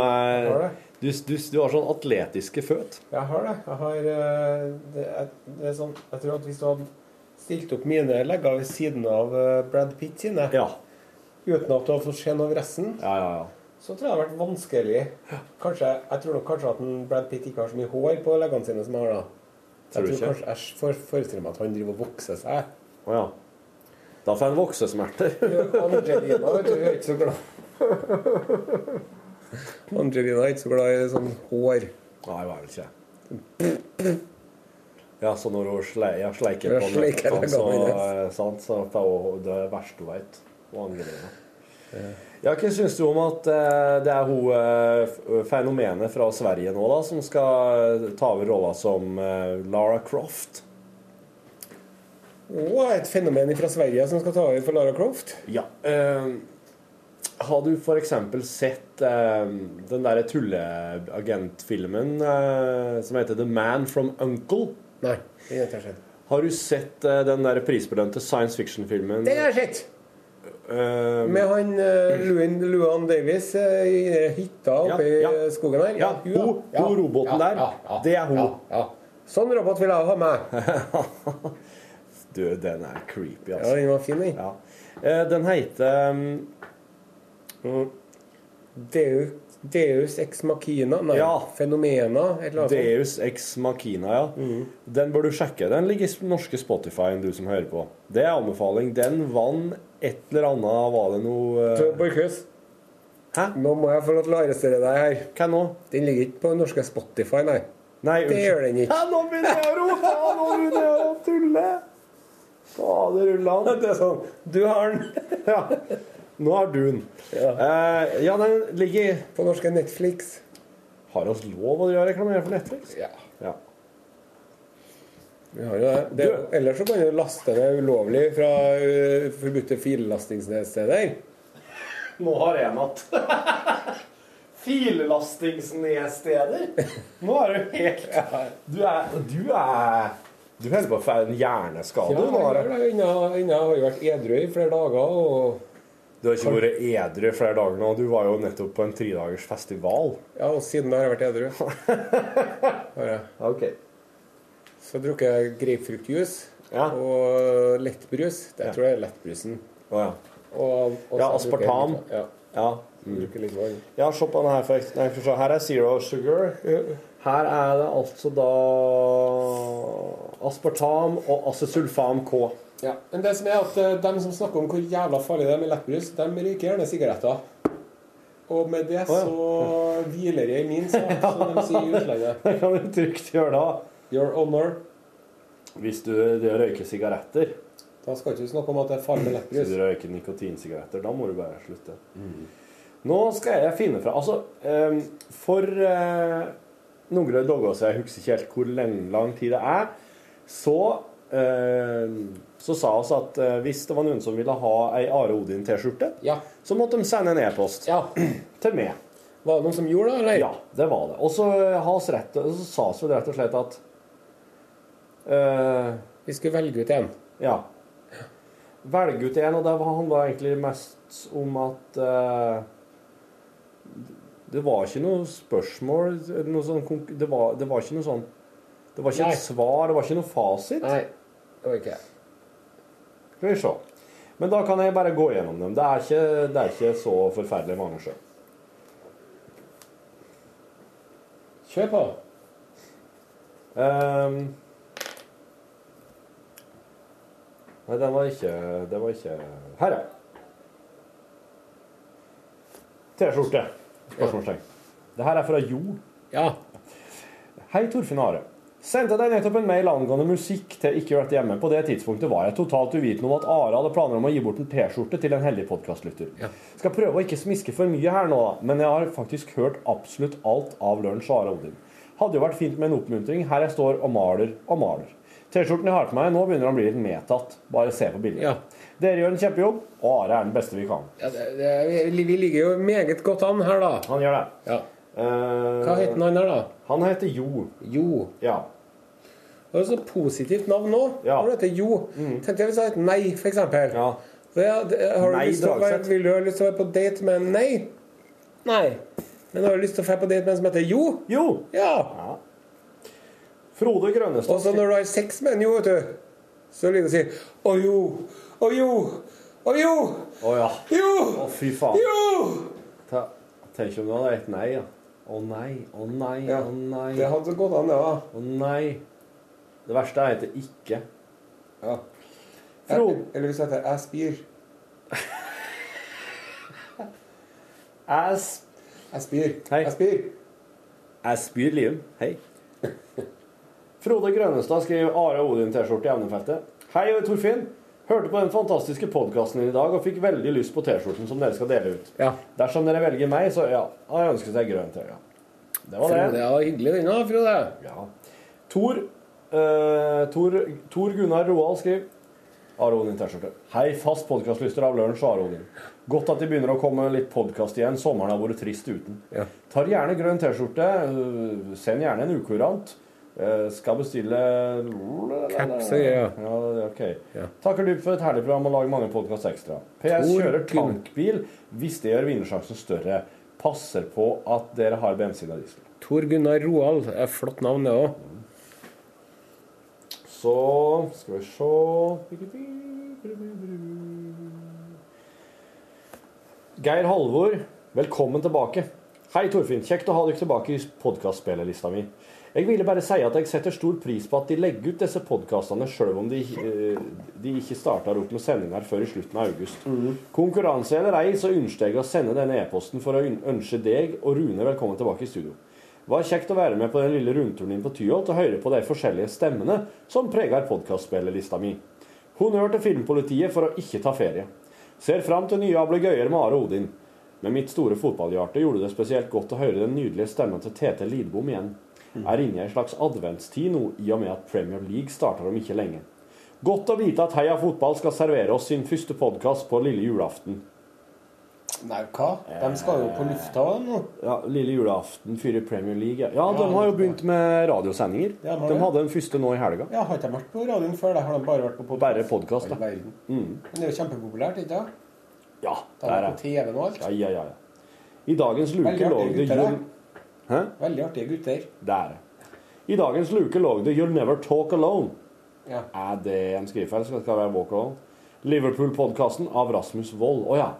Speaker 2: Har det.
Speaker 5: du, du, du har sånn atletiske føt.
Speaker 2: Jeg har det. Jeg har eh, det er, det er sånn, Jeg tror at hvis du hadde stilt opp mine legger ved siden av eh, Brad Pitt sine,
Speaker 5: Ja.
Speaker 2: uten at du hadde fått se noe av resten,
Speaker 5: Ja, ja, ja.
Speaker 2: så tror jeg det hadde vært vanskelig. Kanskje, jeg tror nok kanskje at en Brad Pitt ikke har så mye hår på leggene sine som jeg har da.
Speaker 5: Tror
Speaker 2: Jeg tror
Speaker 5: du ikke?
Speaker 2: kanskje, jeg for- forestiller meg at han driver og vokser seg.
Speaker 5: Å ja. Da får jeg en voksesmerter.
Speaker 2: Angelina vet du, hun er ikke så glad Angelina er ikke så glad i sånn hår.
Speaker 5: Nei, det var vel ikke Ja, så når hun sle, ja, sleiker
Speaker 2: Ja,
Speaker 5: på
Speaker 2: sleiker
Speaker 5: nøttene,
Speaker 2: den
Speaker 5: så,
Speaker 2: gamle,
Speaker 5: eh, sant, så det er jo det verste hun vet. Hun angrer. ja. Ja, hva syns du om at eh, det er hun eh, f- fenomenet fra Sverige nå, da, som skal eh, ta over rolla som eh, Lara Croft?
Speaker 2: Og et fenomen fra Sverige som skal ta over for Lara Croft.
Speaker 5: Ja. eh, har du for eksempel sett eh, den derre tulleagentfilmen eh, som heter The Man from Uncle?
Speaker 2: Nei. Det har ikke skjedd.
Speaker 5: Har du sett eh, den der prisbelønte science fiction-filmen?
Speaker 2: Det har jeg sett!
Speaker 5: Eh,
Speaker 2: Med han eh, Louis Luan Davies eh, i den hytta oppe
Speaker 5: Ja,
Speaker 2: i eh,
Speaker 5: ja.
Speaker 2: skogen her.
Speaker 5: Ja, hun- hun roboten der, det er hun.
Speaker 2: Ja, ja. Sånn robot vil jeg ha meg.
Speaker 5: du, den er creepy,
Speaker 2: Ja,
Speaker 5: altså.
Speaker 2: den var fin, den.
Speaker 5: Ja. Eh, den heter um,
Speaker 2: Deu- Deus ex machina. Nei,
Speaker 5: Ja.
Speaker 2: fenomena. Et eller annet. sånt.
Speaker 5: Deus Ex Machina, ja.
Speaker 2: Mhm.
Speaker 5: Den bør du sjekke. Den ligger i norske Spotify, du som hører på. Det er anbefaling. Den vant et eller annet Var det noe eh,
Speaker 2: Så, Borchhus,
Speaker 5: Hæ?
Speaker 2: nå må jeg få lov til å arrestere deg her.
Speaker 5: Hva nå?
Speaker 2: Den ligger ikke på norske Spotify, nei.
Speaker 5: Nei,
Speaker 2: Det gjør den ikke.
Speaker 5: Ja, nå begynner jeg å rope! Ja, nå begynner jeg å tulle! Fader ullan.
Speaker 2: Det er sånn, Du har den
Speaker 5: Ja. Nå har du den.
Speaker 2: Ja.
Speaker 5: Eh, ja, den ligger
Speaker 2: på norske Netflix.
Speaker 5: Har oss lov å gjøre reklamere for Netflix?
Speaker 2: Ja.
Speaker 5: Ja.
Speaker 2: Vi har jo det. det ellers så kan du laste det ulovlig fra eh, forbudte fillastingsnedsteder.
Speaker 7: Nå har jeg matt. Fillastingsnedsteder. Nå er du helt Du er Du er Du holder på å få en hjerneskade.
Speaker 2: Ja,
Speaker 7: nå, Are.
Speaker 2: Inna har jo vært edru i flere dager. Og,
Speaker 7: Du har ikke vært edru i flere dager nå. Du var jo nettopp på en tredagers festival.
Speaker 2: ja, og siden da har jeg vært edru. Har jeg.
Speaker 7: Ok.
Speaker 2: Så drukker jeg grapefruktjuice
Speaker 7: Ja.
Speaker 2: og lettbrus. Det tror jeg er lettbrusen.
Speaker 5: Å ja.
Speaker 2: Og, og
Speaker 5: Ja,
Speaker 2: så bruker jeg
Speaker 5: aspartam. Mm.
Speaker 2: litt- Ja,
Speaker 5: ja.
Speaker 2: bruker litt vann.
Speaker 5: Ja, se på denne her. For, nei, for se, her er Zero Sugar. Her er det altså da aspartam og acesulfam K.
Speaker 2: Ja. Men det som er at eh, dem som snakker om hvor jævla farlig det er med lettbrus, dem røyker gjerne sigaretter. Og med det så hviler jeg i min sak, som de sier i utlandet.
Speaker 5: Det kan du trygt gjøre da.
Speaker 2: Your honor.
Speaker 5: Hvis du, du røyker sigaretter.
Speaker 2: Da skal ikke du snakke om at det er farlig med
Speaker 5: Hvis
Speaker 2: lettbrus.
Speaker 5: du røyker nikotinsigaretter, da må du bare slutte. Nå skal jeg finne fra Altså, eh, for eh, noen dager siden, jeg husker ikke helt hvor lang, lang tid det er, så eh, så sa oss at eh, hvis det var noen som ville ha ei Are Odin-T-skjorte,
Speaker 2: Ja.
Speaker 5: så måtte de sende en e-post
Speaker 2: ja.
Speaker 5: til meg.
Speaker 2: Var det noen som gjorde det, eller?
Speaker 5: Ja, det var det. Og så, har oss rett, så sa oss vel rett og slett at eh,
Speaker 2: Vi skulle velge ut en.
Speaker 5: Ja. Velge ut en, og det var- handla egentlig mest om at eh, Det var ikke noe spørsmål eller noe sånn, konk- det, var, det var ikke noe sånn Det var ikke
Speaker 2: Nei.
Speaker 5: et svar, det var ikke noe fasit.
Speaker 2: Nei. Det var ikke jeg.
Speaker 5: Skal vi se. Men da kan jeg bare gå gjennom dem. Det er ikke, det er ikke så forferdelig mange sjøl.
Speaker 2: Kjør på.
Speaker 5: Ehm. nei, den var ikke Det var ikke Her, ja. T-skjorte. Spørsmålstegn. Det her er fra Jo.
Speaker 2: Ja.
Speaker 5: Hei, Torfinn og Are. Sendte deg nettopp en mail angående musikk til Ikke hørt hjemme. På det tidspunktet var jeg totalt uvitende om at Are hadde planer om å gi bort en T-skjorte til en heldig podkastlytter. Skal prøve å ikke smiske for mye her nå, da, men jeg har faktisk hørt absolutt alt av Lunsj og Are Odin. Hadde jo vært fint med en oppmuntring. Her jeg står og maler og maler. T-skjorten jeg har på meg nå, begynner å bli litt medtatt. Bare se på bildet.
Speaker 2: Ja.
Speaker 5: Dere gjør en kjempejobb, og Are er den beste vi kan.
Speaker 2: ja det, det, vi vi ligger jo meget godt an her, da.
Speaker 5: Han gjør det.
Speaker 2: Ja.
Speaker 5: Eh,
Speaker 2: Hva heter han her, da?
Speaker 5: han heter Jo.
Speaker 2: Jo.
Speaker 5: Ja.
Speaker 2: Det er et sånt positivt navn òg.
Speaker 5: Ja.
Speaker 2: Når du heter Jo. Tenk deg hvis jeg heter Nei, for eksempel.
Speaker 5: Ja.
Speaker 2: Det, det, har du
Speaker 5: Nei
Speaker 2: lyst til å være,
Speaker 5: Dragseth.
Speaker 2: vil du ha lyst til å være på date med en Nei? Nei. Men har du lyst til å være på date med en som heter Jo?
Speaker 5: Jo!
Speaker 2: Ja.
Speaker 5: Frode Grønnestad
Speaker 2: Og så når du har sex med en Jo, vet du, så ligger du og sier Å jo. Å jo. Å jo.
Speaker 5: Å ja.
Speaker 2: Jo.
Speaker 5: Å, fy faen.
Speaker 2: Jo.
Speaker 5: Ta- Tenk om du hadde hett nei, ja. Å nei, å nei, å
Speaker 2: Ja.
Speaker 5: nei,
Speaker 2: Det
Speaker 5: å
Speaker 2: hadde gått an, det, da.
Speaker 5: nei. Det verste er at det ikke
Speaker 2: Ja.
Speaker 5: Fro-
Speaker 2: Eller- Eller hvis jeg heter Jeg spyr.
Speaker 5: Ass.
Speaker 2: Jeg spyr.
Speaker 5: Hei.
Speaker 2: Jeg spyr.
Speaker 5: Ass byr livet. Hei. Frode Grønnestad skriver Are Odin T-skjorte i evnefeltet. Hei, Torfinn. Hørte på den fantastiske podkasten din i dag og fikk veldig lyst på T-skjorten som dere skal dele ut.
Speaker 2: Ja.
Speaker 5: Dersom dere velger meg, så ja. Han ønsker seg grønn T. Ja. Det var det.
Speaker 2: Frode, ja, hyggelig den, da, Frode.
Speaker 5: Ja. Tor, eh, Tor, Tor Gunnar Roald skriver Are Odin T-skjorte. Hei, fast podkastlyster av Lunsj og Are Odin. Godt at de begynner å komme litt podkast igjen. Sommeren har vært trist uten.
Speaker 2: Ja.
Speaker 5: Tar gjerne grønn T-skjorte. eh, Send gjerne en ukurant. Eh, skal bestille
Speaker 2: Caps og greier, ja.
Speaker 5: ja, ok.
Speaker 2: Ja.
Speaker 5: Takker dypt for et herlig program og lag mange podkast ekstra. PS
Speaker 2: Tor
Speaker 5: kjører
Speaker 2: Gunn-
Speaker 5: tankbil hvis det gjør vinnersjansen større. Passer på at dere har bensin og diesel.
Speaker 2: Tor Gunnar Roald. Det er et flott navn, det òg.
Speaker 5: Så skal vi se Geir Halvor, velkommen tilbake. Hei, Torfinn. Kjekt å ha dere tilbake i podkastspillerlista mi. Jeg ville bare si at jeg setter stor pris på at de legger ut disse podkastene, sjøl om de, eh, de ikke starter opp med sendinger før i slutten av august. Konkurranse eller ei, så ønsker jeg å sende denne e-posten for å øn- ønske deg og Rune velkommen tilbake i studio. Var kjekt å være med på den lille rundturen inn på Tyholt og høre på de forskjellige stemmene som preger podkastspillerlista mi. Honnør til Filmpolitiet for å ikke ta ferie. Ser fram til nye ablegøyer med Are Odin. Med mitt store fotballhjerte gjorde det spesielt godt å høre den nydelige stemmen til Tete Lidbom igjen. er inne i en slags adventstid nå, i og med at Premier League starter om ikke lenge. Godt å vite at Heia Fotball skal servere oss sin første podkast på lille julaften.
Speaker 8: Nei, hva? De skal jo på lufta nå.
Speaker 5: Ja, lille julaften fyrer Premier League. ja. Ja, de har jo begynt med radiosendinger.
Speaker 8: Ja, de har
Speaker 5: de
Speaker 8: det.
Speaker 5: hadde den første nå i helga.
Speaker 8: Ja, Har ikke de vært på radioen før? Da har de bare vært på podkast. Mm.
Speaker 5: Bare podkast, da.
Speaker 8: Men det er jo kjempepopulært, ikke sant?
Speaker 5: Ja,
Speaker 8: De er
Speaker 5: der
Speaker 8: på
Speaker 5: er
Speaker 8: TV-en og alt.
Speaker 5: Ja, ja, ja. ja. I dagens luke
Speaker 8: Veldig
Speaker 5: lå
Speaker 8: artige
Speaker 5: det
Speaker 8: gutter,
Speaker 5: jul...
Speaker 8: da.
Speaker 5: Hæ?
Speaker 8: Veldig artige gutter.
Speaker 5: Der. I dagens luke lå det 'You'll Never Talk Alone'.
Speaker 8: Ja.
Speaker 5: Er det en skrivefeil? Skal skal det være Walk Alone? Liverpool-podkasten av Rasmus Wold. Å ja.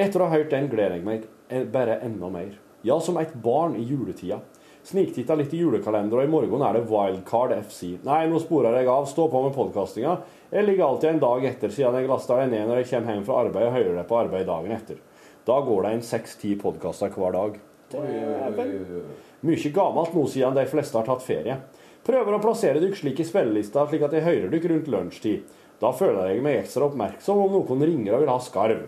Speaker 5: Etter å ha hørt den gleder jeg meg eh, bare enda mer. Ja, som et barn i juletida. Sniktitta litt i julekalender, og i morgen er det Wildcard FC. Nei, nå sporer jeg av. Stå på med podkastinga. Jeg ligger alltid en dag etter siden jeg lasta den ned når jeg kommer hjem fra arbeid og hører det på arbeid dagen etter. Da går det en seks-ti podkaster hver dag. Dæven. Mye gammelt nå siden de fleste har tatt ferie. Prøver å plassere dere slik i spillelista, slik at jeg hører dere rundt lunsjtid. Da føler jeg meg ekstra oppmerksom om noen ringer og vil ha skarv.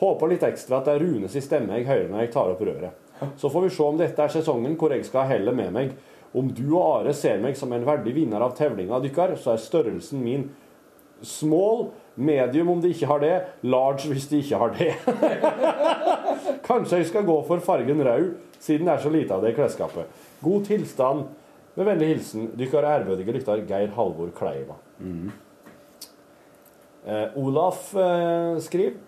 Speaker 5: Håper litt ekstra at det er Runes i stemme jeg hører når jeg tar opp røret. Så får vi se om dette er sesongen hvor jeg skal ha hellet med meg. Om du og Are ser meg som en verdig vinner av tevlinga dykkar, så er størrelsen min small, medium om de ikke har det, large hvis de ikke har det. Kanskje jeg skal gå for fargen rød, siden det er så lite av det i klesskapet. God tilstand. Med vennlig hilsen dykkar ærbødige lytter Geir Halvor Kleiva. Eh, Olaf eh, skriver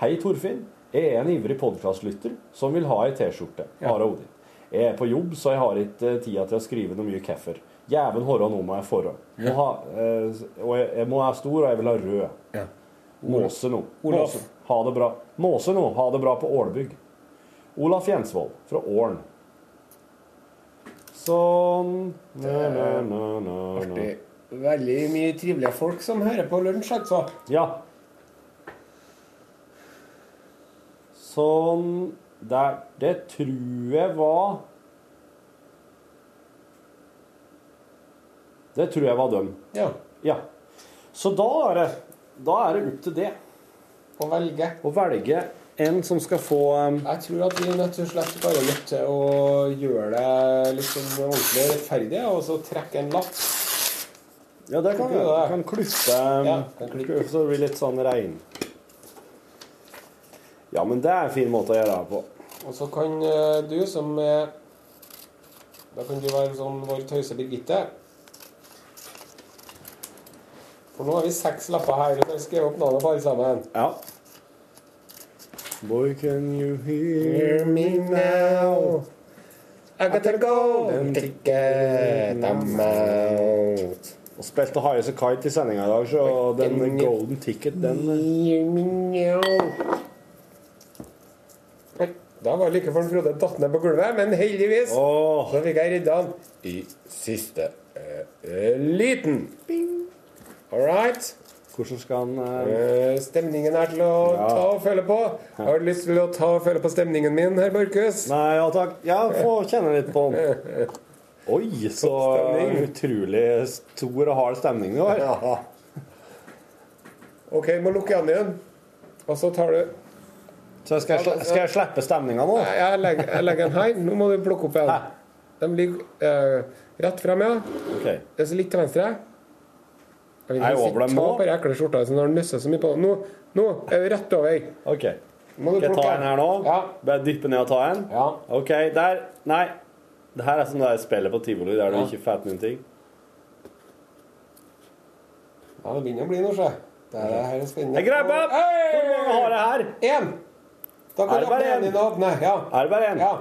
Speaker 5: Hei, Torfinn. Jeg er en ivrig podkastlytter som vil ha ei T-skjorte. Are Odin. Jeg er på jobb, så jeg har ikke eh, tida til å skrive noe mye keffer. Jæven hårå, nå må jeg forå. Må ha, eh, og jeg, jeg må være stor, og jeg vil ha rød.
Speaker 8: Ja.
Speaker 5: Måse nå.
Speaker 8: Olaf.
Speaker 5: Måse. Ha det bra. Måse nå. Ha det bra på Ålbygg. Olaf Jensvold fra Ålen. Sånn Næ, næ, næ, næ, næ.
Speaker 8: Det er veldig mye trivelige folk som hører på lunsj, altså.
Speaker 5: Ja. Sånn der, Det tror jeg var Det tror jeg var dem.
Speaker 8: Ja.
Speaker 5: Ja. Så da er det, da er det opp til det
Speaker 8: Å velge.
Speaker 5: å velge en som skal få um,
Speaker 8: Jeg tror at vi rett og slett bare er nødt til å gjøre det liksom ordentlig rettferdig, og så trekke en lapp.
Speaker 5: Ja, det kan
Speaker 8: Kan
Speaker 5: vi.
Speaker 8: du det?
Speaker 5: Kan klippe um,
Speaker 8: Ja, kan klippe.
Speaker 5: Så det blir litt sånn regn. Ja, men det er en fin måte å gjøre det på.
Speaker 8: Og så kan eh, du som eh, Da kan du være sånn vår tause Birgitte. For nå har vi seks lapper her. Vi skrev opp navnet på alle sammen.
Speaker 5: Ja. Boy, can you hear
Speaker 8: Hear me now. I got a golden ticket. I'm out.
Speaker 5: Og spilte Highest of Kite i sendinga i dag, så den golden ticket, den eh.
Speaker 8: Hear me now. Oi, Da var like før Frode datt ned på gulvet, men heldigvis
Speaker 5: Åh,
Speaker 8: så fikk jeg redda han i siste eh, eh, liten. All right.
Speaker 5: hvordan skal han eh,
Speaker 8: Eh, Stemningen er til å
Speaker 5: Ja.
Speaker 8: ta og føle på. Har du lyst til å ta og føle på stemningen min, herr Borchhus?
Speaker 5: Nei, ja takk. Ja, få kjenne litt på den. Oi, så
Speaker 8: Stemning.
Speaker 5: utrolig stor og hard stemning det var.
Speaker 8: OK, må lukke øynene igjen. Og så tar du
Speaker 5: Så skal jeg, sl- skal jeg slippe stemninga nå?
Speaker 8: Nei, Jeg legger, jeg legger den her. Nå må du plukke opp en.
Speaker 5: Hæ?
Speaker 8: De ligger eh, rett frem, ja.
Speaker 5: Ok.
Speaker 8: Det er så litt til venstre. Jeg
Speaker 5: Er
Speaker 8: vil
Speaker 5: jeg
Speaker 8: ikke
Speaker 5: over dem
Speaker 8: ta
Speaker 5: nå?
Speaker 8: på den ekle skjorta som har nøsset så mye på den. Nå, nå er vi rett over.
Speaker 5: ok.
Speaker 8: Må du
Speaker 5: Skal jeg ta
Speaker 8: plukke
Speaker 5: en her nå?
Speaker 8: Ja.
Speaker 5: Bare dyppe ned og ta en?
Speaker 8: Ja.
Speaker 5: Ok, der. Nei. Det her er som det der spillet på tivoli der du ikke fatter noen ting.
Speaker 8: ja, det begynner å bli noe, se. Det her er spennende.
Speaker 5: Jeg grabber! Hvor mange har jeg her?
Speaker 8: Én! Da
Speaker 5: Er det
Speaker 8: kan jeg
Speaker 5: bare
Speaker 8: rappe
Speaker 5: en?
Speaker 8: igjen i navnet. Ja.
Speaker 5: Er det bare en?
Speaker 8: ja.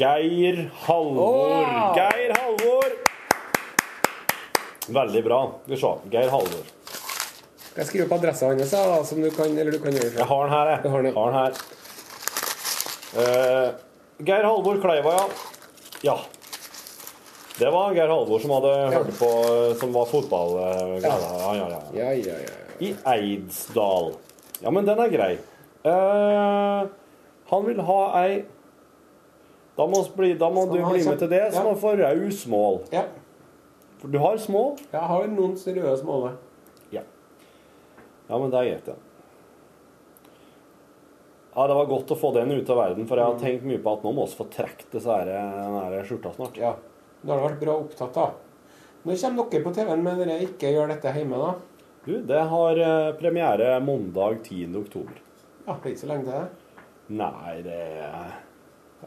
Speaker 5: Geir Halvor.
Speaker 8: Åh!
Speaker 5: Geir Halvor! Veldig bra. Skal vi se. Geir Halvor.
Speaker 8: Skal jeg skrive opp adressa hans, ja, da, som du kan Eller du kan gjøre det
Speaker 5: Jeg har den her, jeg.
Speaker 8: Du har den, ja.
Speaker 5: har den her. Eh, Geir Halvor Kleiva, ja. Ja. Det var Geir Halvor som hadde hørt på Som var fotball... eh, greia. Ja, ja, ja.
Speaker 8: Ja, ja, ja.
Speaker 5: I Eidsdal. Ja, men den er grei. Eh, han vil ha ei Da må, oss bli, da må
Speaker 8: Skal
Speaker 5: du
Speaker 8: han ha
Speaker 5: bli med
Speaker 8: kjem-
Speaker 5: til det, så
Speaker 8: Ja.
Speaker 5: må han få raus mål.
Speaker 8: ja.
Speaker 5: For du har små?
Speaker 8: Jeg har noen seriøse måler.
Speaker 5: Ja, men det er greit, ja. Ja, Det var godt å få den ut av verden, for jeg
Speaker 8: Mm.
Speaker 5: har tenkt mye på at nå må vi få trukket disse her- den her skjorta snart.
Speaker 8: Ja. Da har det vært bra opptatt, da. Når kommer dere på TV-en med dere ikke gjør dette hjemme, da?
Speaker 5: Du, det har eh, premiere mandag 10. oktober.
Speaker 8: Ja, det er ikke så lenge til det.
Speaker 5: Nei, det er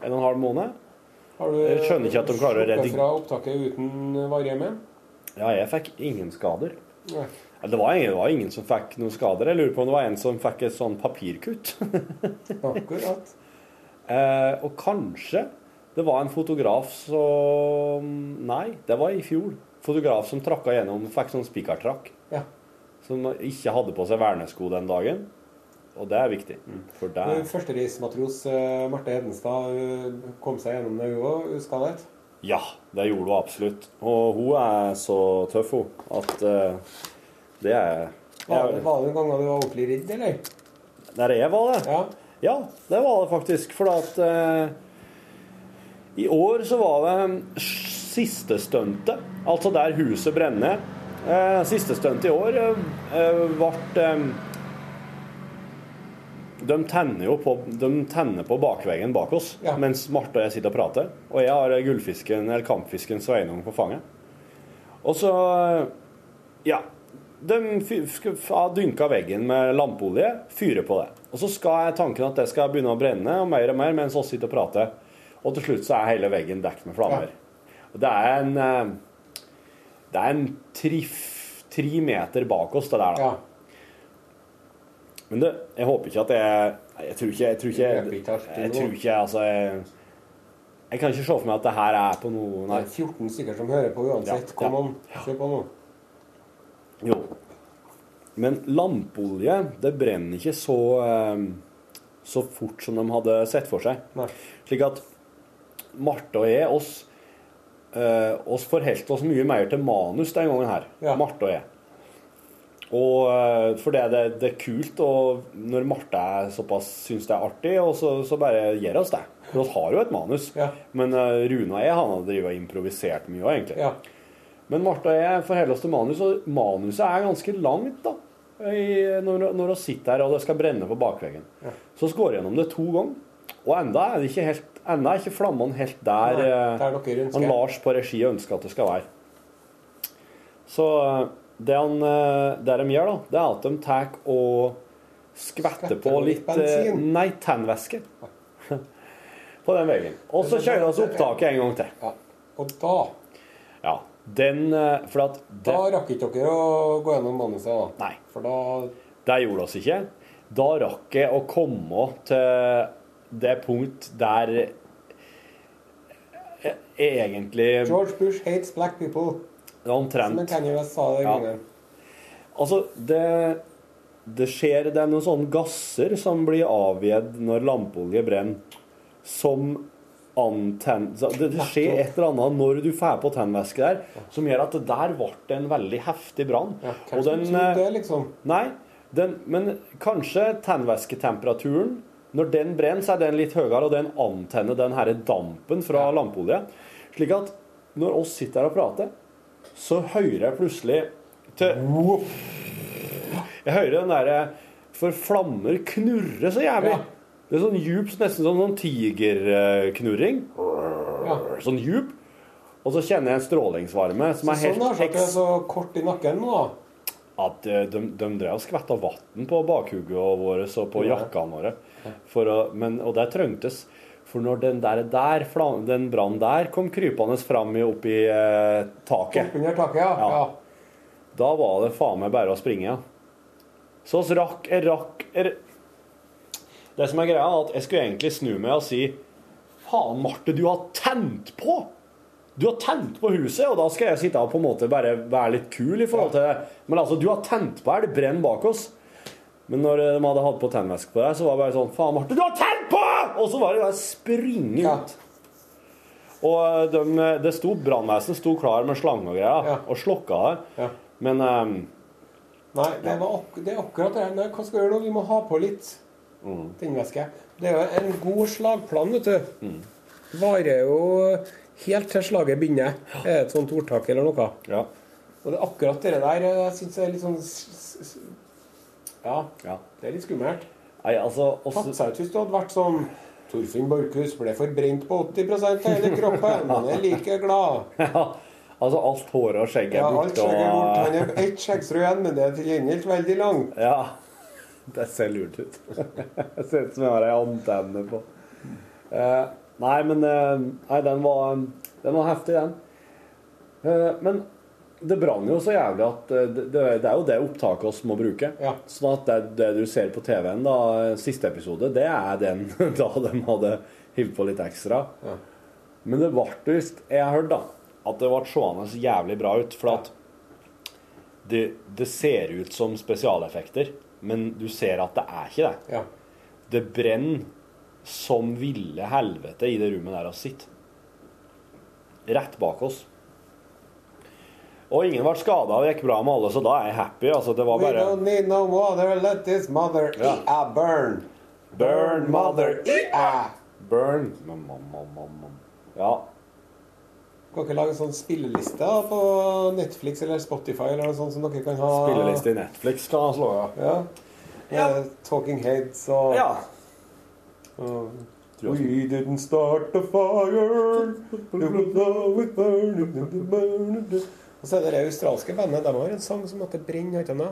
Speaker 5: en og en halv måned.
Speaker 8: Har du
Speaker 5: Jeg skjønner ikke at de klarer å
Speaker 8: sluppet
Speaker 5: redde-
Speaker 8: fra opptaket uten varehjemme?
Speaker 5: Ja, jeg fikk ingen skader.
Speaker 8: Nei.
Speaker 5: Ja, Det var ingen, det var ingen som fikk noen skader. Jeg lurer på om det var en som fikk et sånn papirkutt.
Speaker 8: Akkurat.
Speaker 5: eh, og kanskje det var en fotograf som Nei, det var i fjor. Fotograf som trakka gjennom, fikk sånn spikertrakk.
Speaker 8: Ja.
Speaker 5: Som ikke hadde på seg vernesko den dagen. Og det er viktig. Mm, For det
Speaker 8: Mm. Førstereismatros eh, Marte Hedenstad eh, kom seg gjennom det, hun òg, uskadet.
Speaker 5: Ja, det gjorde hun absolutt. Og hun er så tøff, hun, at eh, det er
Speaker 8: Var
Speaker 5: jeg,
Speaker 8: var det noen ganger du var ordentlig redd, eller?
Speaker 5: Der jeg var, det.
Speaker 8: Ja.
Speaker 5: Ja, det var det faktisk. For at eh, I år så var det siste stuntet, altså der huset brenner. Eh, siste stuntet i år eh, ble eh, de tenner jo på, de tenner på bakveggen bak oss
Speaker 8: Ja.
Speaker 5: mens Marte og jeg sitter og prater. Og jeg har eh, gullfisken, eller kampfisken Sveinung på fanget. Og så eh, Ja. De fyr- sk- har dynka veggen med lampeolje, fyrer på det. Og så skal jeg tanken at det skal begynne å brenne og mer og mer mens vi sitter og prater. Og til slutt så er hele veggen dekket med flammer. Og det er en eh, Det er en tre, tre meter bak oss, det der, da.
Speaker 8: ja.
Speaker 5: Men det, jeg håper ikke at jeg Nei, Jeg tror ikke Jeg tror ikke,
Speaker 8: Du løper ikke hardt til
Speaker 5: jeg
Speaker 8: nå.
Speaker 5: tror ikke altså jeg, jeg kan ikke se for meg at det her er på noe
Speaker 8: Det
Speaker 5: Nei.
Speaker 8: er 14 stykker som hører på uansett.
Speaker 5: Ja,
Speaker 8: Kom
Speaker 5: ja.
Speaker 8: an, se på nå.
Speaker 5: Jo. Men lampeolje, det brenner ikke så eh, så fort som de hadde sett for seg.
Speaker 8: Nei.
Speaker 5: Slik at Marte og jeg, oss, eh, oss forholdt oss mye mer til manus den gangen her.
Speaker 8: Ja.
Speaker 5: Marte og jeg. Og eh, for det, det, det er kult, og når Marte er såpass syns det er artig, og så, så bare gjør oss det. For vi har jo et manus.
Speaker 8: Ja.
Speaker 5: Men eh, Rune og jeg han har drevet og improvisert mye òg, egentlig.
Speaker 8: Ja.
Speaker 5: Men Martha og jeg forholder oss til manus, og manuset er ganske langt da, i, når, når vi sitter her og det skal brenne på bakveggen. Så går jeg gjennom det to ganger, og enda er, det ikke helt, enda er ikke flammene helt der,
Speaker 8: Nei,
Speaker 5: eh,
Speaker 8: der dere ønsker.
Speaker 5: han Lars på regi ønsker at det skal være. Så eh, det, han, eh, det de gjør da, det er at de tar og skvetter
Speaker 8: Skvetter
Speaker 5: på
Speaker 8: på litt
Speaker 5: litt, eh,
Speaker 8: bensin.
Speaker 5: nei, tannvæske på den veggen. Og så kjører vi opptaket en gang til.
Speaker 8: ja. Og da
Speaker 5: Ja, den, eh, for at
Speaker 8: Da
Speaker 5: det-
Speaker 8: rakk ikke dere å gå gjennom manuset, da.
Speaker 5: Nei.
Speaker 8: For da
Speaker 5: Det gjorde oss ikke. Da rakk jeg å komme til det punkt der jeg egentlig
Speaker 8: George Bush hates black people. Som
Speaker 5: omtrent
Speaker 8: Kanye West sa det en
Speaker 5: Ja.
Speaker 8: gangen.
Speaker 5: Altså, det, det skjer Det er noen sånne gasser som blir avgjedd når lampeolje brenner, som antenn... så Det, det skjer et eller annet når du får på tennvæske der, som gjør at det der ble en veldig heftig brann.
Speaker 8: Ja,
Speaker 5: Og
Speaker 8: kanskje
Speaker 5: den
Speaker 8: du trodde
Speaker 5: eh,
Speaker 8: det, liksom.
Speaker 5: Nei, den, men kanskje tannvæsketemperaturen Når den brenner, så er den litt høyere, og den antenner den her dampen fra lampeolje. Slik at når oss sitter her og prater, så hører jeg plutselig til, Jeg hører den derre For flammer knurrer så jævlig.
Speaker 8: Ja.
Speaker 5: Det er sånn djup, nesten som sånn tigerknurring.
Speaker 8: Ja.
Speaker 5: Sånn djup. Og så kjenner jeg en strålingsvarme som er
Speaker 8: Sånn
Speaker 5: helt
Speaker 8: har dere så kort i nakken nå, da.
Speaker 5: at eh, de, de drev og skvetta vann på bakhugget våre og på jakkene våre. For å, men, og det trengtes. For når den der, der flam- den brannen der kom krypende fram i- opp i eh, taket,
Speaker 8: Oppunder taket, ja.
Speaker 5: Ja.
Speaker 8: ja.
Speaker 5: da var det faen meg bare å springe. Ja. Så oss rakk jeg rakk jeg... Det som er greia, er at jeg skulle egentlig snu meg og si Faen, Marte, du har tent på! Du har tent på huset, og da skal jeg sitte og på en måte bare være litt kul i forhold til det. Men altså, du har tent på her, det brenner bak oss. Men når eh, de hadde hatt på tennvæske på deg, så var det bare sånn Faen, Marte, du har tent på! Og så var det bare springe
Speaker 8: Ja.
Speaker 5: ut. Og de, det sto, brannvesenet sto klar med slange og greier,
Speaker 8: Ja.
Speaker 5: og slokka det.
Speaker 8: Ja.
Speaker 5: Men ehm,
Speaker 8: Nei, det, var ak det er akkurat det. her. Nei, hva skal vi gjøre nå? Vi må ha på litt
Speaker 5: Mm.
Speaker 8: tennvæske. Det er jo en god slagplan, vet du.
Speaker 5: Mm.
Speaker 8: Varer jo helt til slaget begynner. Er det et sånt ordtak eller noe?
Speaker 5: ja.
Speaker 8: Og det eh, er akkurat det der jeg syns er litt sånn s- s- s- Ja,
Speaker 5: ja.
Speaker 8: det er litt skummelt.
Speaker 5: Nei, altså
Speaker 8: Tatt
Speaker 5: oss,
Speaker 8: seg ut hvis du hadde vært som Torfinn Borchhus ble forbrent på 80 av hele kroppen, men er like glad.
Speaker 5: ja, altså alt håret og skjegget er
Speaker 8: Ja, alt
Speaker 5: borte.
Speaker 8: skjegg er borte. Han
Speaker 5: og-
Speaker 8: er ett skjeggstrå igjen, men det er til gjengjeld veldig langt.
Speaker 5: Ja. Det ser lurt ut. Det ser ut som jeg har ei antenne på. Eh, nei, men eh, nei, den, var, den var heftig, den. Eh, men det brann jo så jævlig at eh, det, det det er jo det opptaket oss må bruke.
Speaker 8: Ja.
Speaker 5: Sånn at det, det du ser på TV-en, da, eh, siste episode, det er den da de hadde hivd på litt ekstra. Men det ble visst Jeg hørte da at det ble seende så jævlig bra ut. For at det, det ser ut som spesialeffekter, men du ser at det er ikke det.
Speaker 8: Ja.
Speaker 5: Det brenner som ville helvete i det rommet der vi sitter. Rett bak oss. Og ingen ble skada, det gikk bra med alle, så da er jeg happy. Altså, det var
Speaker 8: We
Speaker 5: bare
Speaker 8: don't need no water, let this mother
Speaker 5: Ja.
Speaker 8: ea burn.
Speaker 5: Burn, mother,
Speaker 8: ea!
Speaker 5: burn. Mam, mam, mam, mam, mam. Ja.
Speaker 8: Kan dere lage en sånn spilleliste da, på Netflix eller Spotify eller noe sånt som dere kan ha?
Speaker 5: Spilleliste i Netflix kan han slå av.
Speaker 8: Ja. Eh, Talking Heads og
Speaker 5: Ja.
Speaker 8: We didn't start the fire. Og så er det det australske bandet. De har en sang som heter 'Brenn', heter den da?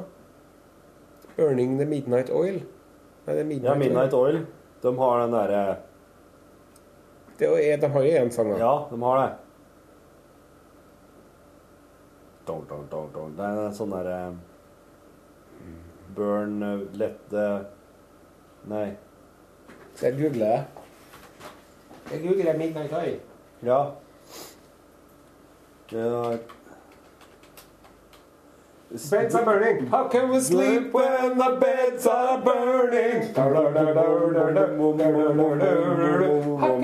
Speaker 8: 'Burning the Midnight Oil'. Nei, det er Midnight,
Speaker 5: ja, Midnight
Speaker 8: Oil.
Speaker 5: Oil. De har den eh, derre
Speaker 8: Det er, jo- de har jo én sang, da.
Speaker 5: Ja, de har det. Dong, dong, dong, dong. Det er en sånn derre Burn uh, let the Nei.
Speaker 8: Så jeg googler det. Jeg googler 'Midnight Oil'.
Speaker 5: Ja. Det er
Speaker 8: Beds are burning. How can we sleep when the beds are burning? How can we sleep when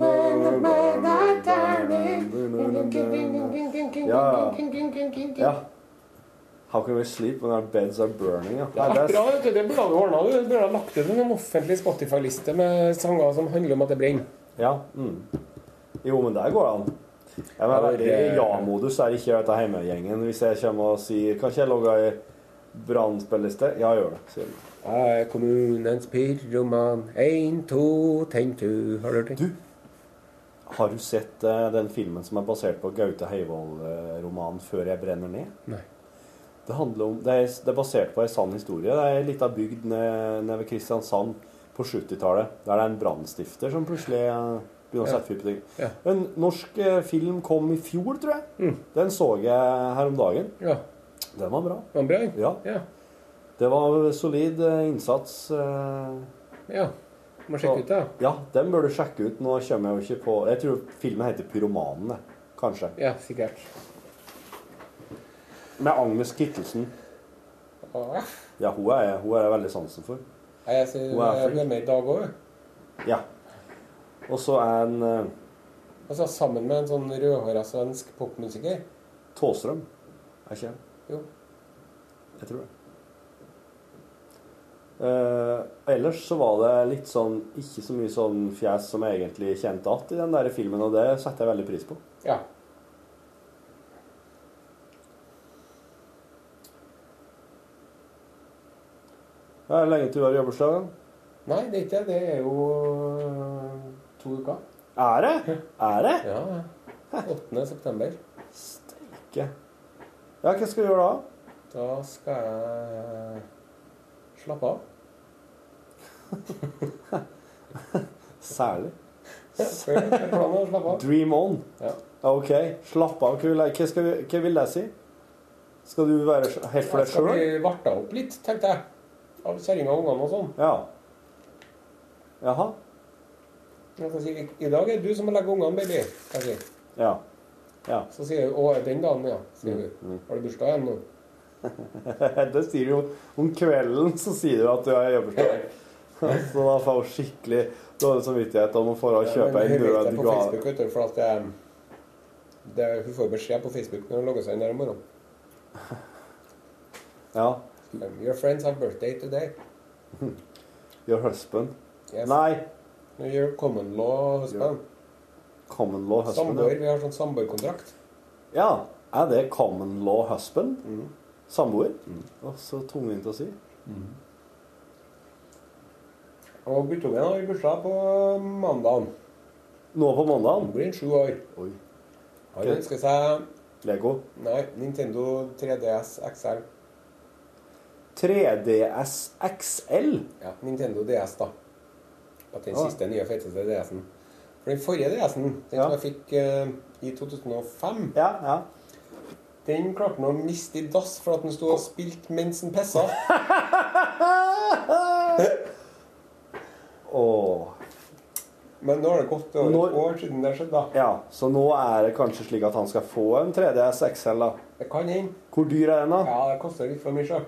Speaker 8: the beds are turning?
Speaker 5: Ja. How can we sleep when our beds are burning? Ja. Nei,
Speaker 8: Bra,
Speaker 5: det er,
Speaker 8: vet du. Det burde du ordna. Du burde ha lagt ut en offentlig Spotify-liste med sanger som handler om at det brenner.
Speaker 5: ja. Mm. Jo, men der går det an. Jeg er veldig i ja-modus er ikke dette heimegjengen. Hvis jeg kommer og sier Kan ikke jeg logge ei brannspilleliste? Ja, gjør det. Sier de.
Speaker 8: Ah, Jeg er kommunens pyroman. Én, to, tenn, tu. Har du hørt den?
Speaker 5: Har du sett eh, den filmen som er basert på Gaute Heivold-romanen 'Før jeg brenner ned'?
Speaker 8: Nei.
Speaker 5: Det, handler om, det, er, det er basert på en sann historie. Det er ei lita bygd nede ned ved Kristiansand på 70-tallet. Der det er en brannstifter som plutselig eh, begynner å sette fyr på ting.
Speaker 8: Ja. Mm.
Speaker 5: En norsk eh, film kom i fjor, tror jeg. Den så jeg her om dagen.
Speaker 8: Ja.
Speaker 5: Den var bra.
Speaker 8: Var den bra? den?
Speaker 5: Ja.
Speaker 8: Ja.
Speaker 5: Det var solid eh, innsats. eh,
Speaker 8: ja. Må sjekke ut, da.
Speaker 5: Ja, den bør du sjekke ut. Nå kommer jeg jo ikke på Jeg tror filmen heter 'Pyromanene', kanskje.
Speaker 8: Ja, sikkert.
Speaker 5: Med Agnes Kittelsen.
Speaker 8: Åh.
Speaker 5: Ja, hun er hun er jeg veldig sansen for.
Speaker 8: Ah. Nei, Jeg ser,
Speaker 5: Hun er
Speaker 8: jeg
Speaker 5: flink.
Speaker 8: er med i dag òg.
Speaker 5: Ja. Og så er en eh,
Speaker 8: Altså, sammen med en sånn rødhåra svensk popmusiker.
Speaker 5: Tåstrøm. Er ikke det?
Speaker 8: Jo.
Speaker 5: Jeg tror det. Eh, ellers så var det litt sånn ikke så mye sånn fjes som jeg egentlig kjente att i den der filmen, og det setter jeg veldig pris på.
Speaker 8: Ja.
Speaker 5: Det er lenge til du har jobbeslag. da.
Speaker 8: Nei, det er ikke det. Det er jo øh, to uker.
Speaker 5: Er det? Er det?
Speaker 8: Ja. 8. september.
Speaker 5: Ikke. Ja, hva skal du gjøre da?
Speaker 8: Da skal jeg slappe av.
Speaker 5: Særlig.
Speaker 8: Før jeg har planen å slappe av.
Speaker 5: Dream on.
Speaker 8: Ja.
Speaker 5: OK. Slapp av. Hva vil jeg, hva skal, vi- hva vil jeg si? Skal du være sj- helt for
Speaker 8: Jeg
Speaker 5: deg
Speaker 8: skal bli
Speaker 5: sjøl?
Speaker 8: varta opp litt, tenkte jeg. Av kjerringa og ungene og sånn.
Speaker 5: Ja. Jaha.
Speaker 8: Jeg skal si, I dag er det du som må legge ungene, baby. skal jeg si.
Speaker 5: Ja.
Speaker 8: Så sier hun Å, er den dagen, ja. sier
Speaker 5: Mm,
Speaker 8: hun. Har du bursdag igjen nå?
Speaker 5: Det sier du jo om kvelden, så sier du at du har jobbeslag. Så da får hun skikkelig dårlig samvittighet om å få å
Speaker 8: Ja,
Speaker 5: kjøpe
Speaker 8: men
Speaker 5: en
Speaker 8: hun vet
Speaker 5: rød
Speaker 8: det på
Speaker 5: gave.
Speaker 8: Facebook, vet du, for at det, det, hun får beskjed på Facebook når hun logger seg inn der om morgenen.
Speaker 5: Ja. Mm.
Speaker 8: Um, Your friends have birthday today.
Speaker 5: Your husband.
Speaker 8: Yes.
Speaker 5: Nei.
Speaker 8: Your common law husband.
Speaker 5: Common law husband.
Speaker 8: Samboer.
Speaker 5: ja.
Speaker 8: Vi har sånn samboerkontrakt.
Speaker 5: Ja. Er det common law
Speaker 8: Mm.
Speaker 5: husband? Samboer? Å, så tungvint å si.
Speaker 8: Og guttungen har bursdag på mandag.
Speaker 5: Nå på
Speaker 8: Han
Speaker 5: mandag.
Speaker 8: blir sju år.
Speaker 5: Oi.
Speaker 8: Han ønsker seg
Speaker 5: Lego.
Speaker 8: Nei, Nintendo 3DS XL.
Speaker 5: 3DS XL.
Speaker 8: Ja, Nintendo DS, da. At den
Speaker 5: Ja.
Speaker 8: siste nye, feteste DS-en. For den forrige DS-en, den
Speaker 5: Ja.
Speaker 8: som jeg fikk eh, i 2005,
Speaker 5: Ja, ja.
Speaker 8: den klarte han å miste i dass for at den sto og spilte mens den pissa.
Speaker 5: Åh.
Speaker 8: Men nå har det gått over
Speaker 5: Når-
Speaker 8: et år siden det skjedde, da.
Speaker 5: Ja, så nå er det kanskje slik at han skal få en 3DS XL, da.
Speaker 8: Det kan hende.
Speaker 5: Hvor dyr er den, da?
Speaker 8: Ja, det koster litt for mye, sjøl.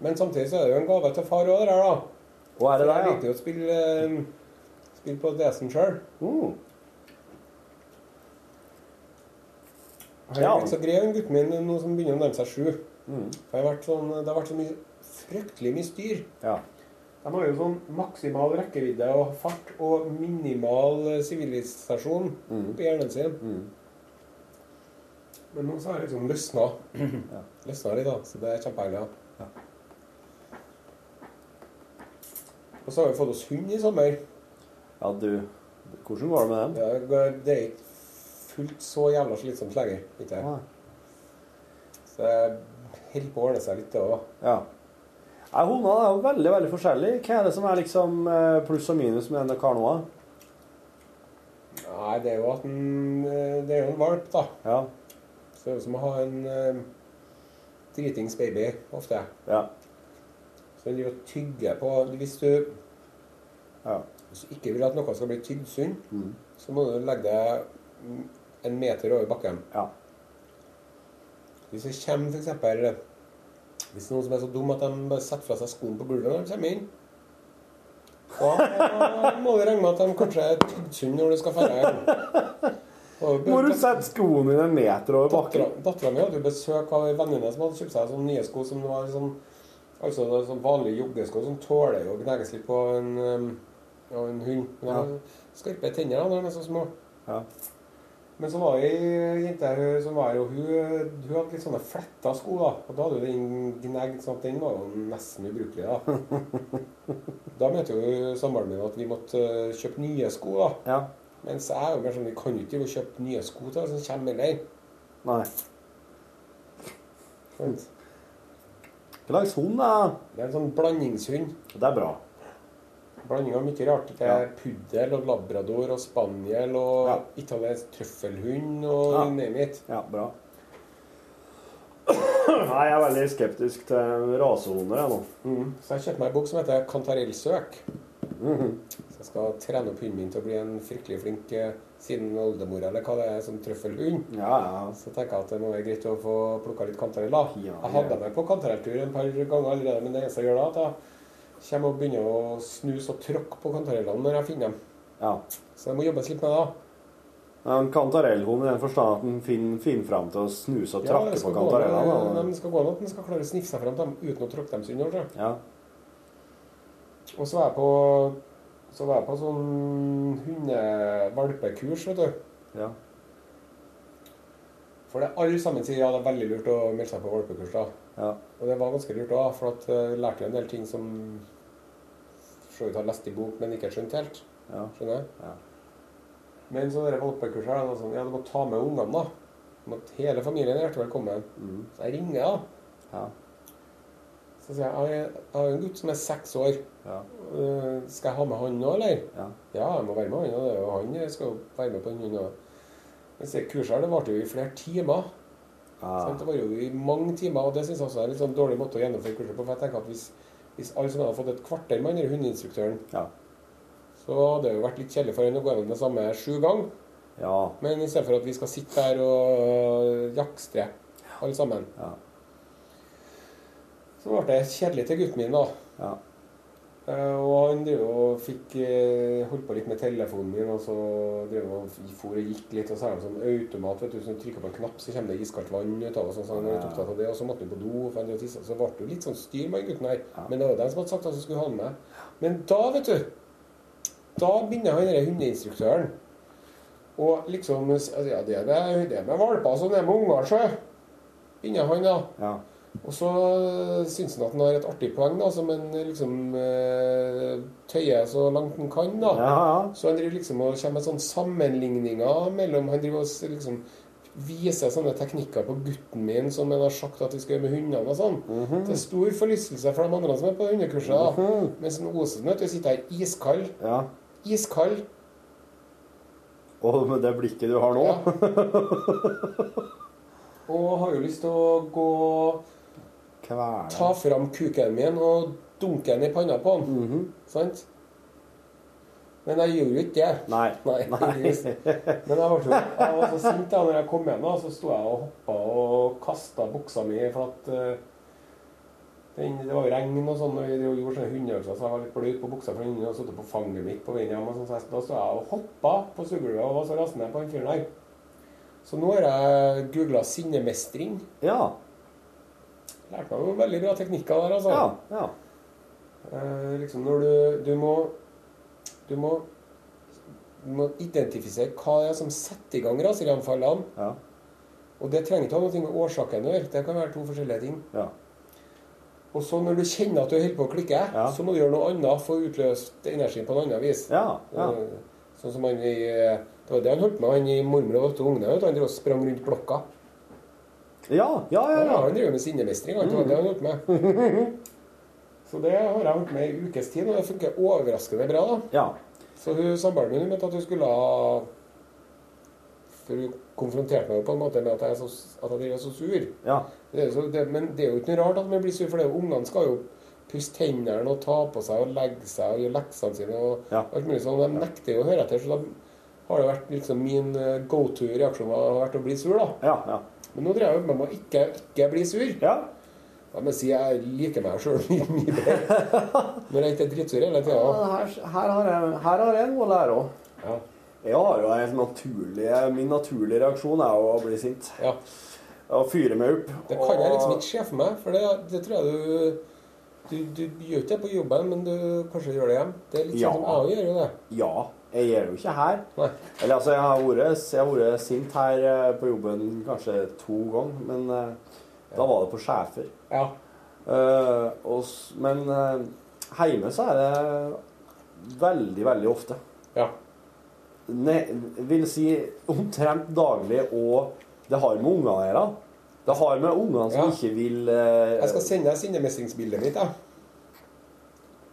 Speaker 8: Men samtidig så er det jo en gave til far òg, det der, da.
Speaker 5: Hva er det
Speaker 8: jeg
Speaker 5: der,
Speaker 8: likte jo å spille, eh, spille på DS-en sjøl.
Speaker 5: ja? Mm.
Speaker 8: Han
Speaker 5: Ja.
Speaker 8: er blitt så grei, den gutten min, nå som begynner å nærme seg sju.
Speaker 5: mm,
Speaker 8: Det har vært sånn, det har vært så mye, fryktelig mye styr.
Speaker 5: Ja.
Speaker 8: De har jo sånn maksimal rekkevidde og fart og minimal eh, sivilisasjon på hjernen sin. Men nå så har det liksom løsna. løsna litt, da. Så det er kjempedeilig. Ja. Og så har vi fått oss hund i sommer.
Speaker 5: ja, du Hvordan går det med den?
Speaker 8: Det er det er ikke fullt så jævla slitsomt lenger. Ikke?
Speaker 5: Nei.
Speaker 8: Så det holder på å ordne seg litt, det òg.
Speaker 5: Ja. Nei, Hundene er jo veldig veldig forskjellige. Hva er det som er liksom eh, pluss og minus med denne kanoa?
Speaker 8: Nei, det er jo at den eh, Det er jo en valp, da.
Speaker 5: Ja.
Speaker 8: Så det er jo som å ha en eh, dritings baby ofte.
Speaker 5: Ja.
Speaker 8: Så den driver og tygger på Hvis du,
Speaker 5: Ja.
Speaker 8: hvis du ikke vil at noe skal bli tygd sund, så må du legge deg mm, en meter over bakken.
Speaker 5: ja.
Speaker 8: Hvis det kommer for eksempel Hvis det er noen som er så dum at de bare setter fra seg skoene på gulvet når de kommer inn, da må du regne med at de kanskje er tygd sund når du skal dra hjem.
Speaker 5: Må du sette skoene dine en meter over bakken?
Speaker 8: Dattera mi hadde jo besøk av en venninne som hadde kjøpt seg sånne nye sko som var sånn Altså det er sånn vanlige joggesko som tåler jo å gnages litt på en, øhm, av en hund. Men de har Skarpe tenner da, når de er så små.
Speaker 5: Ja.
Speaker 8: Men så var det ei jente her som var her, og hun, hun hadde litt sånne fletta sko, da. Og da hadde jo den gnegd, sånn at den var jo nesten ubrukelig, da. Da mente jo samboeren min at vi måtte øh, kjøpe nye sko, da.
Speaker 5: ja.
Speaker 8: Mens jeg er jo mer sånn, vi kan jo ikke drive og kjøpe nye sko til alle som kommer heller.
Speaker 5: Nei.
Speaker 8: Sant?
Speaker 5: Hva slags hund er det?
Speaker 8: Det er en sånn blandingshund.
Speaker 5: Det er bra.
Speaker 8: Blanding av mye rart. Det er puddel og labrador og spaniel og
Speaker 5: Ja.
Speaker 8: italiensk trøffelhund og
Speaker 5: Ja.
Speaker 8: you name it.
Speaker 5: Ja, bra. Nei, jeg er veldig skeptisk til rasehunder jeg nå.
Speaker 8: Så jeg kjøpte meg en bok som heter 'Kantarellsøk'.
Speaker 5: Mhm.
Speaker 8: Så jeg skal trene opp hunden min til å bli en fryktelig flink eh, siden oldemor eller hva det er, som trøffelhund.
Speaker 5: Ja, ja.
Speaker 8: Så tenker jeg at det må være greit å få plukka litt kantarell, da.
Speaker 5: Ja,
Speaker 8: jeg
Speaker 5: ja.
Speaker 8: hadde meg på kantarelltur en par ganger allerede, men det eneste jeg gjør da, er at jeg kommer og begynner å snuse og tråkke på kantarellene når jeg finner dem.
Speaker 5: ja.
Speaker 8: Så det må jobbes litt med det, da.
Speaker 5: En kantarellhund i den forstand at den finner, finner fram til å snuse og
Speaker 8: Ja,
Speaker 5: trakke på
Speaker 8: det skal gå an
Speaker 5: kantarellene.
Speaker 8: at-
Speaker 5: da.
Speaker 8: det skal gå an at den skal klare å sniffe seg frem til dem uten å tråkke dem under. tror jeg.
Speaker 5: Ja.
Speaker 8: Og så var jeg på, så var jeg på sånn hundevalpekurs, vet du.
Speaker 5: ja.
Speaker 8: For det alle sammen sier ja, det er veldig lurt å melde seg på valpekurs. da.
Speaker 5: ja.
Speaker 8: Og det var ganske lurt òg, for at eh, jeg lærte jo en del ting som for så vidt har lest i bok, men ikke skjønt helt.
Speaker 5: Ja.
Speaker 8: Skjønner jeg?
Speaker 5: Ja.
Speaker 8: Men så dere valpekurset her, det var sånn, ja, du må ta med ungene, da. Du må, hele familien er hjertelig velkommen. Så jeg ringer, da.
Speaker 5: Mm. ja.
Speaker 8: Så sier jeg, jeg jeg har en gutt som er seks år.
Speaker 5: Ja.
Speaker 8: Eh, skal jeg ha med han nå, eller?
Speaker 5: Ja.
Speaker 8: jeg må være med han. Og det er jo han eh, skal jo være med på den hunden. Mens det kurset her, det varte jo i flere timer.
Speaker 5: Ja.
Speaker 8: sant? Det var jo i mange timer, og det synes jeg også er en litt sånn dårlig måte å gjennomføre kurset på. For jeg tenker at hvis, hvis alle som hadde fått et kvarter med den hundeinstruktøren,
Speaker 5: Ja.
Speaker 8: så hadde det jo vært litt kjedelig for han å gå gjennom det samme sju ganger.
Speaker 5: ja.
Speaker 8: Men i stedet for at vi skal sitte her og jakstre, alle sammen,
Speaker 5: Ja.
Speaker 8: så ble det kjedelig til gutten min, da.
Speaker 5: Ja.
Speaker 8: Eh, Og han drev og fikk eh, holdt på litt med telefonen min, og så drev han og f- for og gikk litt. Og så er det sånn automat, vet du, så du trykker på en knapp, så kommer det iskaldt vann ut av og sånn, så han var litt opptatt av det. Og så måtte han på do, for han drev og tisset, så ble det jo litt sånn styr med den gutten her. Men det var jo dem som hadde sagt at han skulle ha den med. Men da, vet du, da begynner han denne hundeinstruktøren. Og sånn, liksom altså, Ja, det er med, det er med valper som det er med unger, sjø. Begynner han, da.
Speaker 5: Ja.
Speaker 8: Og så syns han at han har et artig poeng, da, som han liksom eh, tøyer så langt han kan. da.
Speaker 5: Ja,
Speaker 8: Så han driver liksom og kommer med sånne sammenligninger mellom Han driver og s- liksom viser sånne teknikker på gutten min som han har sagt at vi skal gjøre med hundene og sånn. Det er stor forlystelse for de andre som er på hundekurset. da. Mens en Osen vet du, sitter her iskald.
Speaker 5: ja. ja.
Speaker 8: Iskald.
Speaker 5: Og med det blikket du har nå
Speaker 8: Ja. Og har jo lyst til å gå
Speaker 5: Kveler.
Speaker 8: ta fram kuken min og dunke den i panna på den. Sant? Men jeg gjorde jo ikke det.
Speaker 5: Nei.
Speaker 8: Nei, heldigvis. Men jeg var, så, jeg var så sint da når jeg kom hjem, da, så sto jeg og hoppa og kasta buksa mi for at eh, den, Det var jo regn og sånn, og vi drev og gjorde sånne hundeøvelser, så jeg var litt bløt på buksa for hunden og satt på fanget mitt på veien hjem. og sånn, så jeg- Da sto jeg og hoppa på sugegulvet og var så rasende på han fyren der. Så nå har jeg googla sinnemestring.
Speaker 5: Ja.
Speaker 8: Lærte meg jo veldig bra teknikker der, altså.
Speaker 5: Ja. ja.
Speaker 8: Eh, liksom når du, du må Du må du må identifisere hva det er som setter i gang raserianfallene.
Speaker 5: ja.
Speaker 8: Og det trenger ikke ha noe med årsaken å gjøre. Det kan være to forskjellige ting.
Speaker 5: ja.
Speaker 8: Og så når du kjenner at du holder på å klikke,
Speaker 5: Ja.
Speaker 8: så må du gjøre noe annet for å utløse energien på en annen vis.
Speaker 5: ja. ja.
Speaker 8: Eh, Sånn som han i eh, Det var det han holdt på med, han i 'Mormor og de åtte ungene'. vet du. Han drev og sprang rundt blokka.
Speaker 5: Ja, ja, ja,
Speaker 8: Ja,
Speaker 5: ja.
Speaker 8: han driver med sinnemestring. Han tror det har han gjort med. Så det har jeg holdt med i ukes tid, og det funker overraskende bra. da.
Speaker 5: ja.
Speaker 8: Så hun samboeren min mente at hun skulle ha For hun konfronterte meg jo på en måte med at jeg, er så, at jeg driver så sur.
Speaker 5: ja.
Speaker 8: Det er jo så, det, men det er jo ikke noe rart at man blir sur, for det er jo- ungene skal jo pusse tennene og ta på seg og legge seg og gjøre leksene sine og
Speaker 5: Ja.
Speaker 8: alt mulig sånn. De nekter jo å høre etter, så da har det vært liksom min go to-reaksjon har vært å bli sur, da.
Speaker 5: ja, ja.
Speaker 8: Men nå dreier jeg jo med meg å ikke, ikke bli sur.
Speaker 5: ja.
Speaker 8: Ja, men si jeg liker meg sjøl mye bedre når jeg ikke er dritsur hele tida.
Speaker 5: Men Her, her, har jeg, her har jeg noe å lære òg.
Speaker 8: Ja.
Speaker 5: Jeg har jo en naturlig, Min naturlige reaksjon er jo å bli sint.
Speaker 8: Ja.
Speaker 5: Å fyre meg opp.
Speaker 8: Det kan jeg liksom ikke se for meg, for det, det tror jeg du du, du gjør ikke det på jobben, men du kanskje gjør det hjem. Det er litt
Speaker 5: Ja.
Speaker 8: sånn som AI gjør jo det.
Speaker 5: Ja. Jeg gjør jo ikke her.
Speaker 8: Nei.
Speaker 5: Eller altså, jeg har vært, jeg har vært sint her eh, på jobben kanskje to ganger, men eh, da var det på sjefer.
Speaker 8: Ja.
Speaker 5: Eh, og, s- men eh, hjemme så er det veldig, veldig ofte.
Speaker 8: Ja.
Speaker 5: ne, vil si omtrent daglig, og det har med ungene å gjøre. Det har med ungene som
Speaker 8: Ja.
Speaker 5: ikke vil eh,
Speaker 8: Jeg skal sende deg sinnemestringsbildet mitt. Jeg.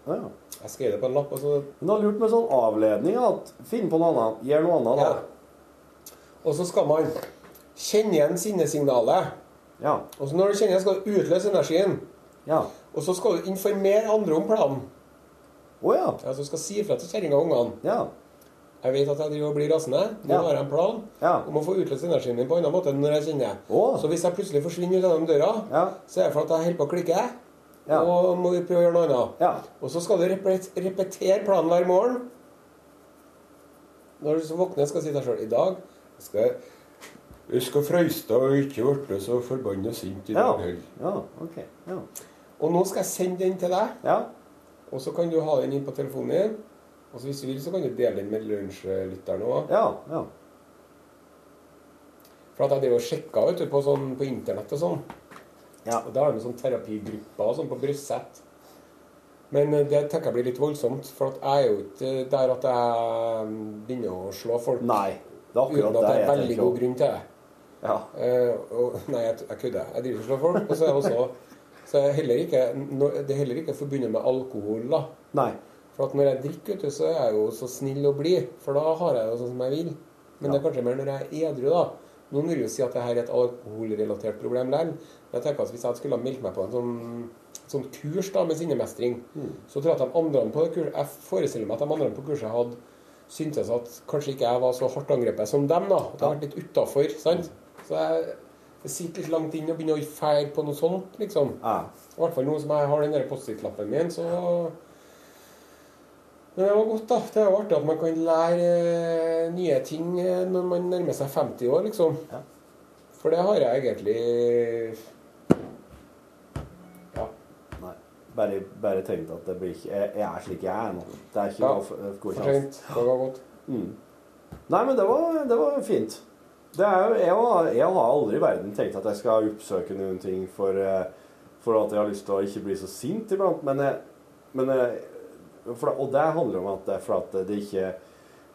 Speaker 5: ja.
Speaker 8: jeg skrev det på en lapp. Og så,
Speaker 5: Men det har lurt med sånn avledning at finn på noe annet, gjør noe annet,
Speaker 8: ja.
Speaker 5: da.
Speaker 8: og så skal man kjenne igjen sinnesignalet.
Speaker 5: Ja.
Speaker 8: Og så når du kjenner det, skal du utløse energien.
Speaker 5: Ja.
Speaker 8: Og så skal du informere andre om planen.
Speaker 5: Å ja.
Speaker 8: Ja, så skal si ifra til kjerringa og ungene.
Speaker 5: Ja.
Speaker 8: Jeg vet at jeg driver og blir rasende. Nå
Speaker 5: Ja.
Speaker 8: har jeg en plan
Speaker 5: Ja.
Speaker 8: om å få utløst energien min på en annen måte enn når jeg kjenner det.
Speaker 5: Å.
Speaker 8: Så hvis jeg plutselig forsvinner ut gjennom døra,
Speaker 5: Ja.
Speaker 8: så er det for at jeg holder på å klikke.
Speaker 5: Ja.
Speaker 8: Og må prøve å gjøre noe annet.
Speaker 5: Ja.
Speaker 8: Og så skal du repet repetere planen hver morgen. Når du så våkner, skal du si til deg sjøl I dag skal jeg huske å frøyste og ikke bli så forbanna sint i
Speaker 5: Ja.
Speaker 8: dag heller.
Speaker 5: ja. OK. Ja.
Speaker 8: Og nå skal jeg sende den til deg.
Speaker 5: ja.
Speaker 8: Og så kan du ha den inn på telefonen din. Og så hvis du vil, så kan du dele den med lunsjlytteren òg.
Speaker 5: Ja. Ja.
Speaker 8: For at jeg drev og sjekka vet du, på, sånn, på internett og sånn.
Speaker 5: Ja.
Speaker 8: Og da har de sånn terapigrupper og sånn på Brøset. Men eh, det tenker jeg blir litt voldsomt, for at jeg er jo ikke eh, der at jeg mm, begynner å slå folk
Speaker 5: Nei. Det er
Speaker 8: uten
Speaker 5: akkurat det
Speaker 8: at det er
Speaker 5: jeg
Speaker 8: veldig
Speaker 5: tenker
Speaker 8: god
Speaker 5: òg.
Speaker 8: grunn til det.
Speaker 5: Ja.
Speaker 8: Eh, og, nei, jeg, jeg kødder. Jeg driver ikke og slår folk. Og så er jeg også så er jeg heller ikke, nå- det er heller ikke forbundet med alkohol, da.
Speaker 5: Nei.
Speaker 8: For at når jeg drikker, vet du, så er jeg jo så snill og blid. For da har jeg jo sånn som jeg vil. Men det er kanskje mer når jeg er edru, da. Noen vil jo si at det her er et alkoholrelatert problem likevel. Men jeg tenker at hvis jeg skulle ha meldt meg på en sånn, sånn kurs da, med sinnemestring, så tror jeg at de andre på det kurset Jeg forestiller meg at de andre på kurset hadde syntes at kanskje ikke jeg var så hardt angrepet som dem, da. At jeg har vært litt utafor, sant. Så jeg, jeg sitter litt langt inn og begynner å feire på noe sånt, liksom.
Speaker 5: Ja.
Speaker 8: I hvert fall nå som jeg har den der Post-It-lappen min, så Men det var godt, da. Det er jo artig at man kan lære eh, nye ting eh, når man nærmer seg 50 år, liksom.
Speaker 5: Ja.
Speaker 8: For det har jeg egentlig Ja.
Speaker 5: Nei. Bare, bare tenkt at det blir ikke Jeg, jeg er slik jeg er nå. Det er ikke
Speaker 8: Ja.
Speaker 5: noe for- eh, god
Speaker 8: For
Speaker 5: sjanse.
Speaker 8: sent. Det var godt.
Speaker 5: Mm. Nei, men det var, det var fint. Det er jo, jeg, har- jeg har aldri i verden tenkt at jeg skal oppsøke noen ting for eh, For at jeg har lyst til å ikke bli så sint iblant. Men, jeg- men jeg- for, og det handler om at det er for at det ikke,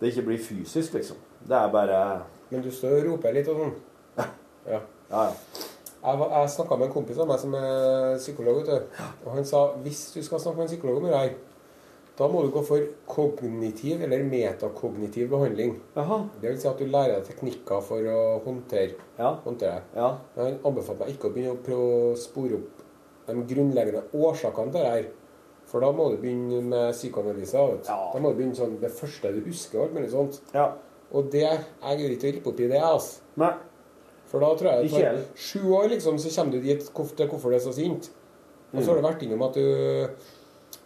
Speaker 5: det ikke blir fysisk, liksom. Det er bare
Speaker 8: Men du står og roper litt og sånn. Ja.
Speaker 5: Ja, ja.
Speaker 8: Jeg, var- jeg snakka med en kompis av meg som er psykolog. vet du. Og han sa hvis du skal snakke med en psykolog om det her, da må du gå for kognitiv eller metakognitiv behandling.
Speaker 5: Jaha.
Speaker 8: Det vil si at du lærer deg teknikker for å håndtere,
Speaker 5: Ja.
Speaker 8: håndtere deg.
Speaker 5: Ja.
Speaker 8: Men han anbefalte meg ikke å begynne å prøve å spore opp de grunnleggende årsakene til det her. For da må du begynne med psykoanalyse. Vet. du.
Speaker 5: Ja.
Speaker 8: Da må du begynne sånn det første du husker. og alt mulig sånt.
Speaker 5: ja.
Speaker 8: Og det, jeg gidder ikke å rippe opp i det. Altså.
Speaker 5: Nei.
Speaker 8: For da tror jeg
Speaker 5: Ikke
Speaker 8: at
Speaker 5: heller.
Speaker 8: for sju år liksom, så kommer du dit hvor- til hvorfor du er så sint. Og så har du vært innom at du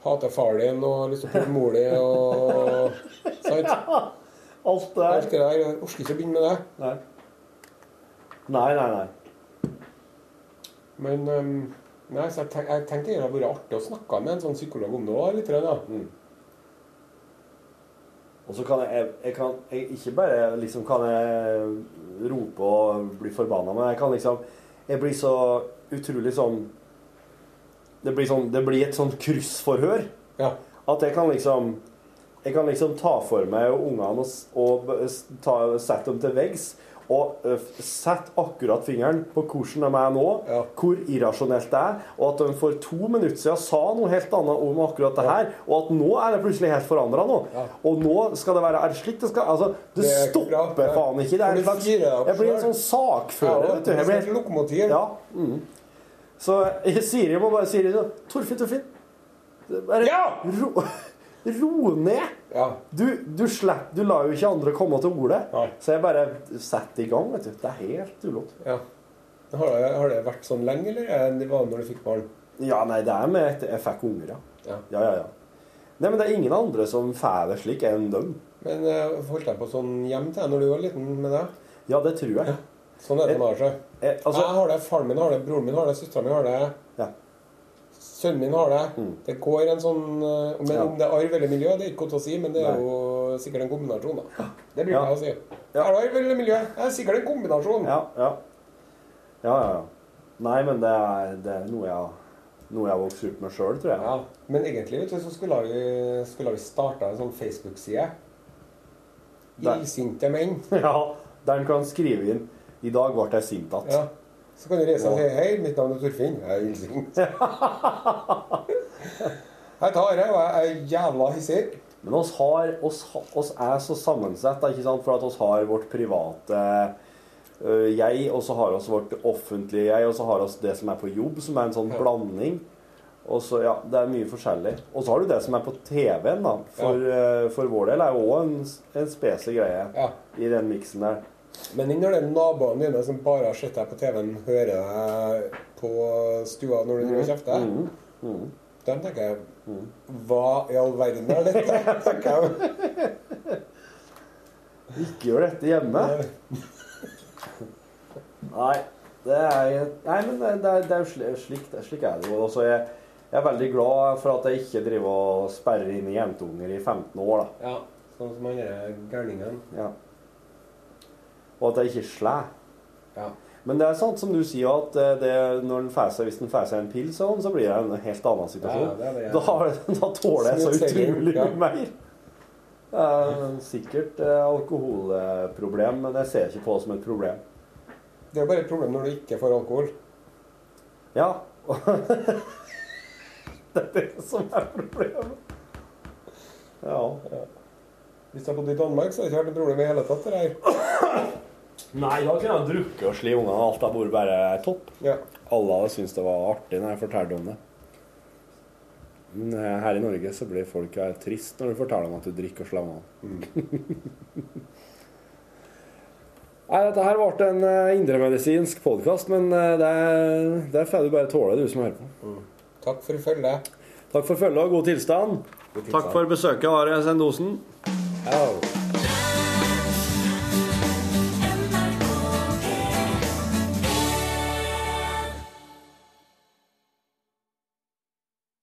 Speaker 8: hater far din og har lyst til å prøve mor din og sant?
Speaker 5: Alt
Speaker 8: Alt
Speaker 5: det
Speaker 8: det der. Jeg orker ikke å begynne med det.
Speaker 5: der. Nei. Nei, nei, nei.
Speaker 8: Men ehm, nei, så jeg, tenk, jeg tenkte det hadde vært artig å snakke med en sånn psykolog om det òg, litt. Da.
Speaker 5: Og så kan jeg, jeg, jeg kan jeg ikke bare liksom kan jeg rope og bli forbanna, men jeg kan liksom Jeg blir så utrolig sånn Det blir, sånn, det blir et sånn kryssforhør.
Speaker 8: Ja.
Speaker 5: At jeg kan liksom Jeg kan liksom ta for meg ungene og, s- og b- s- ta, sette dem til veggs. Og ø, f- sette akkurat fingeren på hvordan de er nå,
Speaker 8: Ja.
Speaker 5: hvor irrasjonelt det er. Og at de for to minutter siden sa noe helt annet om akkurat det her. Og at nå er det plutselig helt forandra nå.
Speaker 8: Ja.
Speaker 5: Og nå skal det være Er det slik det skal Altså, det,
Speaker 8: Det er ikke
Speaker 5: stopper
Speaker 8: bra. Nei.
Speaker 5: faen ikke. Det
Speaker 8: For
Speaker 5: er
Speaker 8: du
Speaker 5: en slags
Speaker 8: sier det opp
Speaker 5: Jeg blir en
Speaker 8: selv.
Speaker 5: sånn sakfører, vet du. Jeg
Speaker 8: blir
Speaker 5: blir
Speaker 8: et lokomotiv.
Speaker 5: ja. Mm. Så Siri må bare si sånn Torfinn, Torfinn. det er Bare
Speaker 8: Ja!
Speaker 5: ro, ro ned.
Speaker 8: Ja.
Speaker 5: Du, du, slapp, du lar jo ikke andre komme til ordet.
Speaker 8: Nei.
Speaker 5: Så jeg bare setter i gang. vet du. Det er helt ulovlig.
Speaker 8: ja. Har, det, har det vært sånn lenge, eller er det vanlig når du fikk barn?
Speaker 5: Ja, nei, det er med etter jeg fikk unger, ja.
Speaker 8: Ja.
Speaker 5: Ja, ja, ja. Nei, men det er ingen andre som får det slik enn dem.
Speaker 8: Men eh, holdt jeg på sånn hjem til deg når du var liten med deg?
Speaker 5: Ja, det tror jeg.
Speaker 8: Sånn er det med seg.
Speaker 5: Eh, altså,
Speaker 8: jeg har det, faren min har det, broren min har det, søstera mi har det,
Speaker 5: ja.
Speaker 8: sønnen min har det. Det går en sånn eh, Men
Speaker 5: Mm. Ja.
Speaker 8: om det er arv eller miljø, det er ikke godt å si, men det er
Speaker 5: Nei.
Speaker 8: jo sikkert en kombinasjon, da. Det bruker
Speaker 5: Ja.
Speaker 8: jeg å si. Er det arv eller miljø? Det er sikkert en kombinasjon.
Speaker 5: Ja, ja. Ja, ja, ja. Nei, men det er, det er noe jeg noe jeg har vokst opp med sjøl, tror jeg.
Speaker 8: Ja, Men egentlig vet du, så skulle vi, skulle vi starta en sånn Facebook-side.
Speaker 5: Der.
Speaker 8: Illsinte menn.
Speaker 5: Ja, der han kan skrive inn I dag ble jeg sint at.
Speaker 8: Ja. Så kan du reise deg og si Hei, mitt navn er Torfinn. Jeg er illsint. Jeg tar det, og jeg er jævla hissig.
Speaker 5: Men oss, har, oss, ha- oss er så sammensett, da, ikke sant? For at oss har vårt private øh, jeg, og så har oss vårt offentlige jeg, og så har oss det som er på jobb, som er en sånn blanding. Og så, ja, Det er mye forskjellig. Og så har du det som er på TV-en, da. For, øh, for vår del er jo òg en, en spesiell greie
Speaker 8: Ja.
Speaker 5: i den miksen der.
Speaker 8: Men den når det er naboene dine som bare har sett deg på TV-en, hører deg på stua når du driver og kjefter, mm, dem tenker jeg Hva i all verden er dette? tenker jeg.
Speaker 5: Ikke gjør dette hjemme. Nei, det er, nei men det, det, er- det er jo sli- slik, det er slik er det jo. Også jeg, jeg er veldig glad for at jeg ikke driver og sperrer inn jentunger i 15 år. da.
Speaker 8: Ja, sånn som han der gærningen.
Speaker 5: Ja. Og at jeg ikke slår.
Speaker 8: Ja.
Speaker 5: Men det er sant som du sier, at eh, det, når den får seg- hvis den får seg en pils, sånn, så blir det en helt annen situasjon.
Speaker 8: Ja, det er det.
Speaker 5: da, da tåler jeg så
Speaker 8: Smooth sailing,
Speaker 5: utrolig
Speaker 8: ja.
Speaker 5: mye mer. Eh, sikkert eh, alkoholproblem, men jeg ser ikke på det som et problem.
Speaker 8: Det er bare et problem når du ikke får alkohol.
Speaker 5: Ja. det er det som er problemet. Ja.
Speaker 8: Hvis du har bodd i Danmark, så har det ikke vært et problem i det hele tatt. det der.
Speaker 5: Nei, da kunne jeg drukket og sli ungene. Alt har vært bare topp.
Speaker 8: Ja.
Speaker 5: Alle hadde syntes det var artig når jeg fortalte om det. Men eh, her i Norge så blir folk eh, trist når du forteller dem at du drikker og slår ungene. Nei, dette her ble en eh, indremedisinsk podkast, men eh, det, er- det får du bare tåle, du som hører på.
Speaker 8: Takk for følget.
Speaker 5: Takk for følget og god tilstand. Takk for besøket, Are Sendosen.
Speaker 8: Au.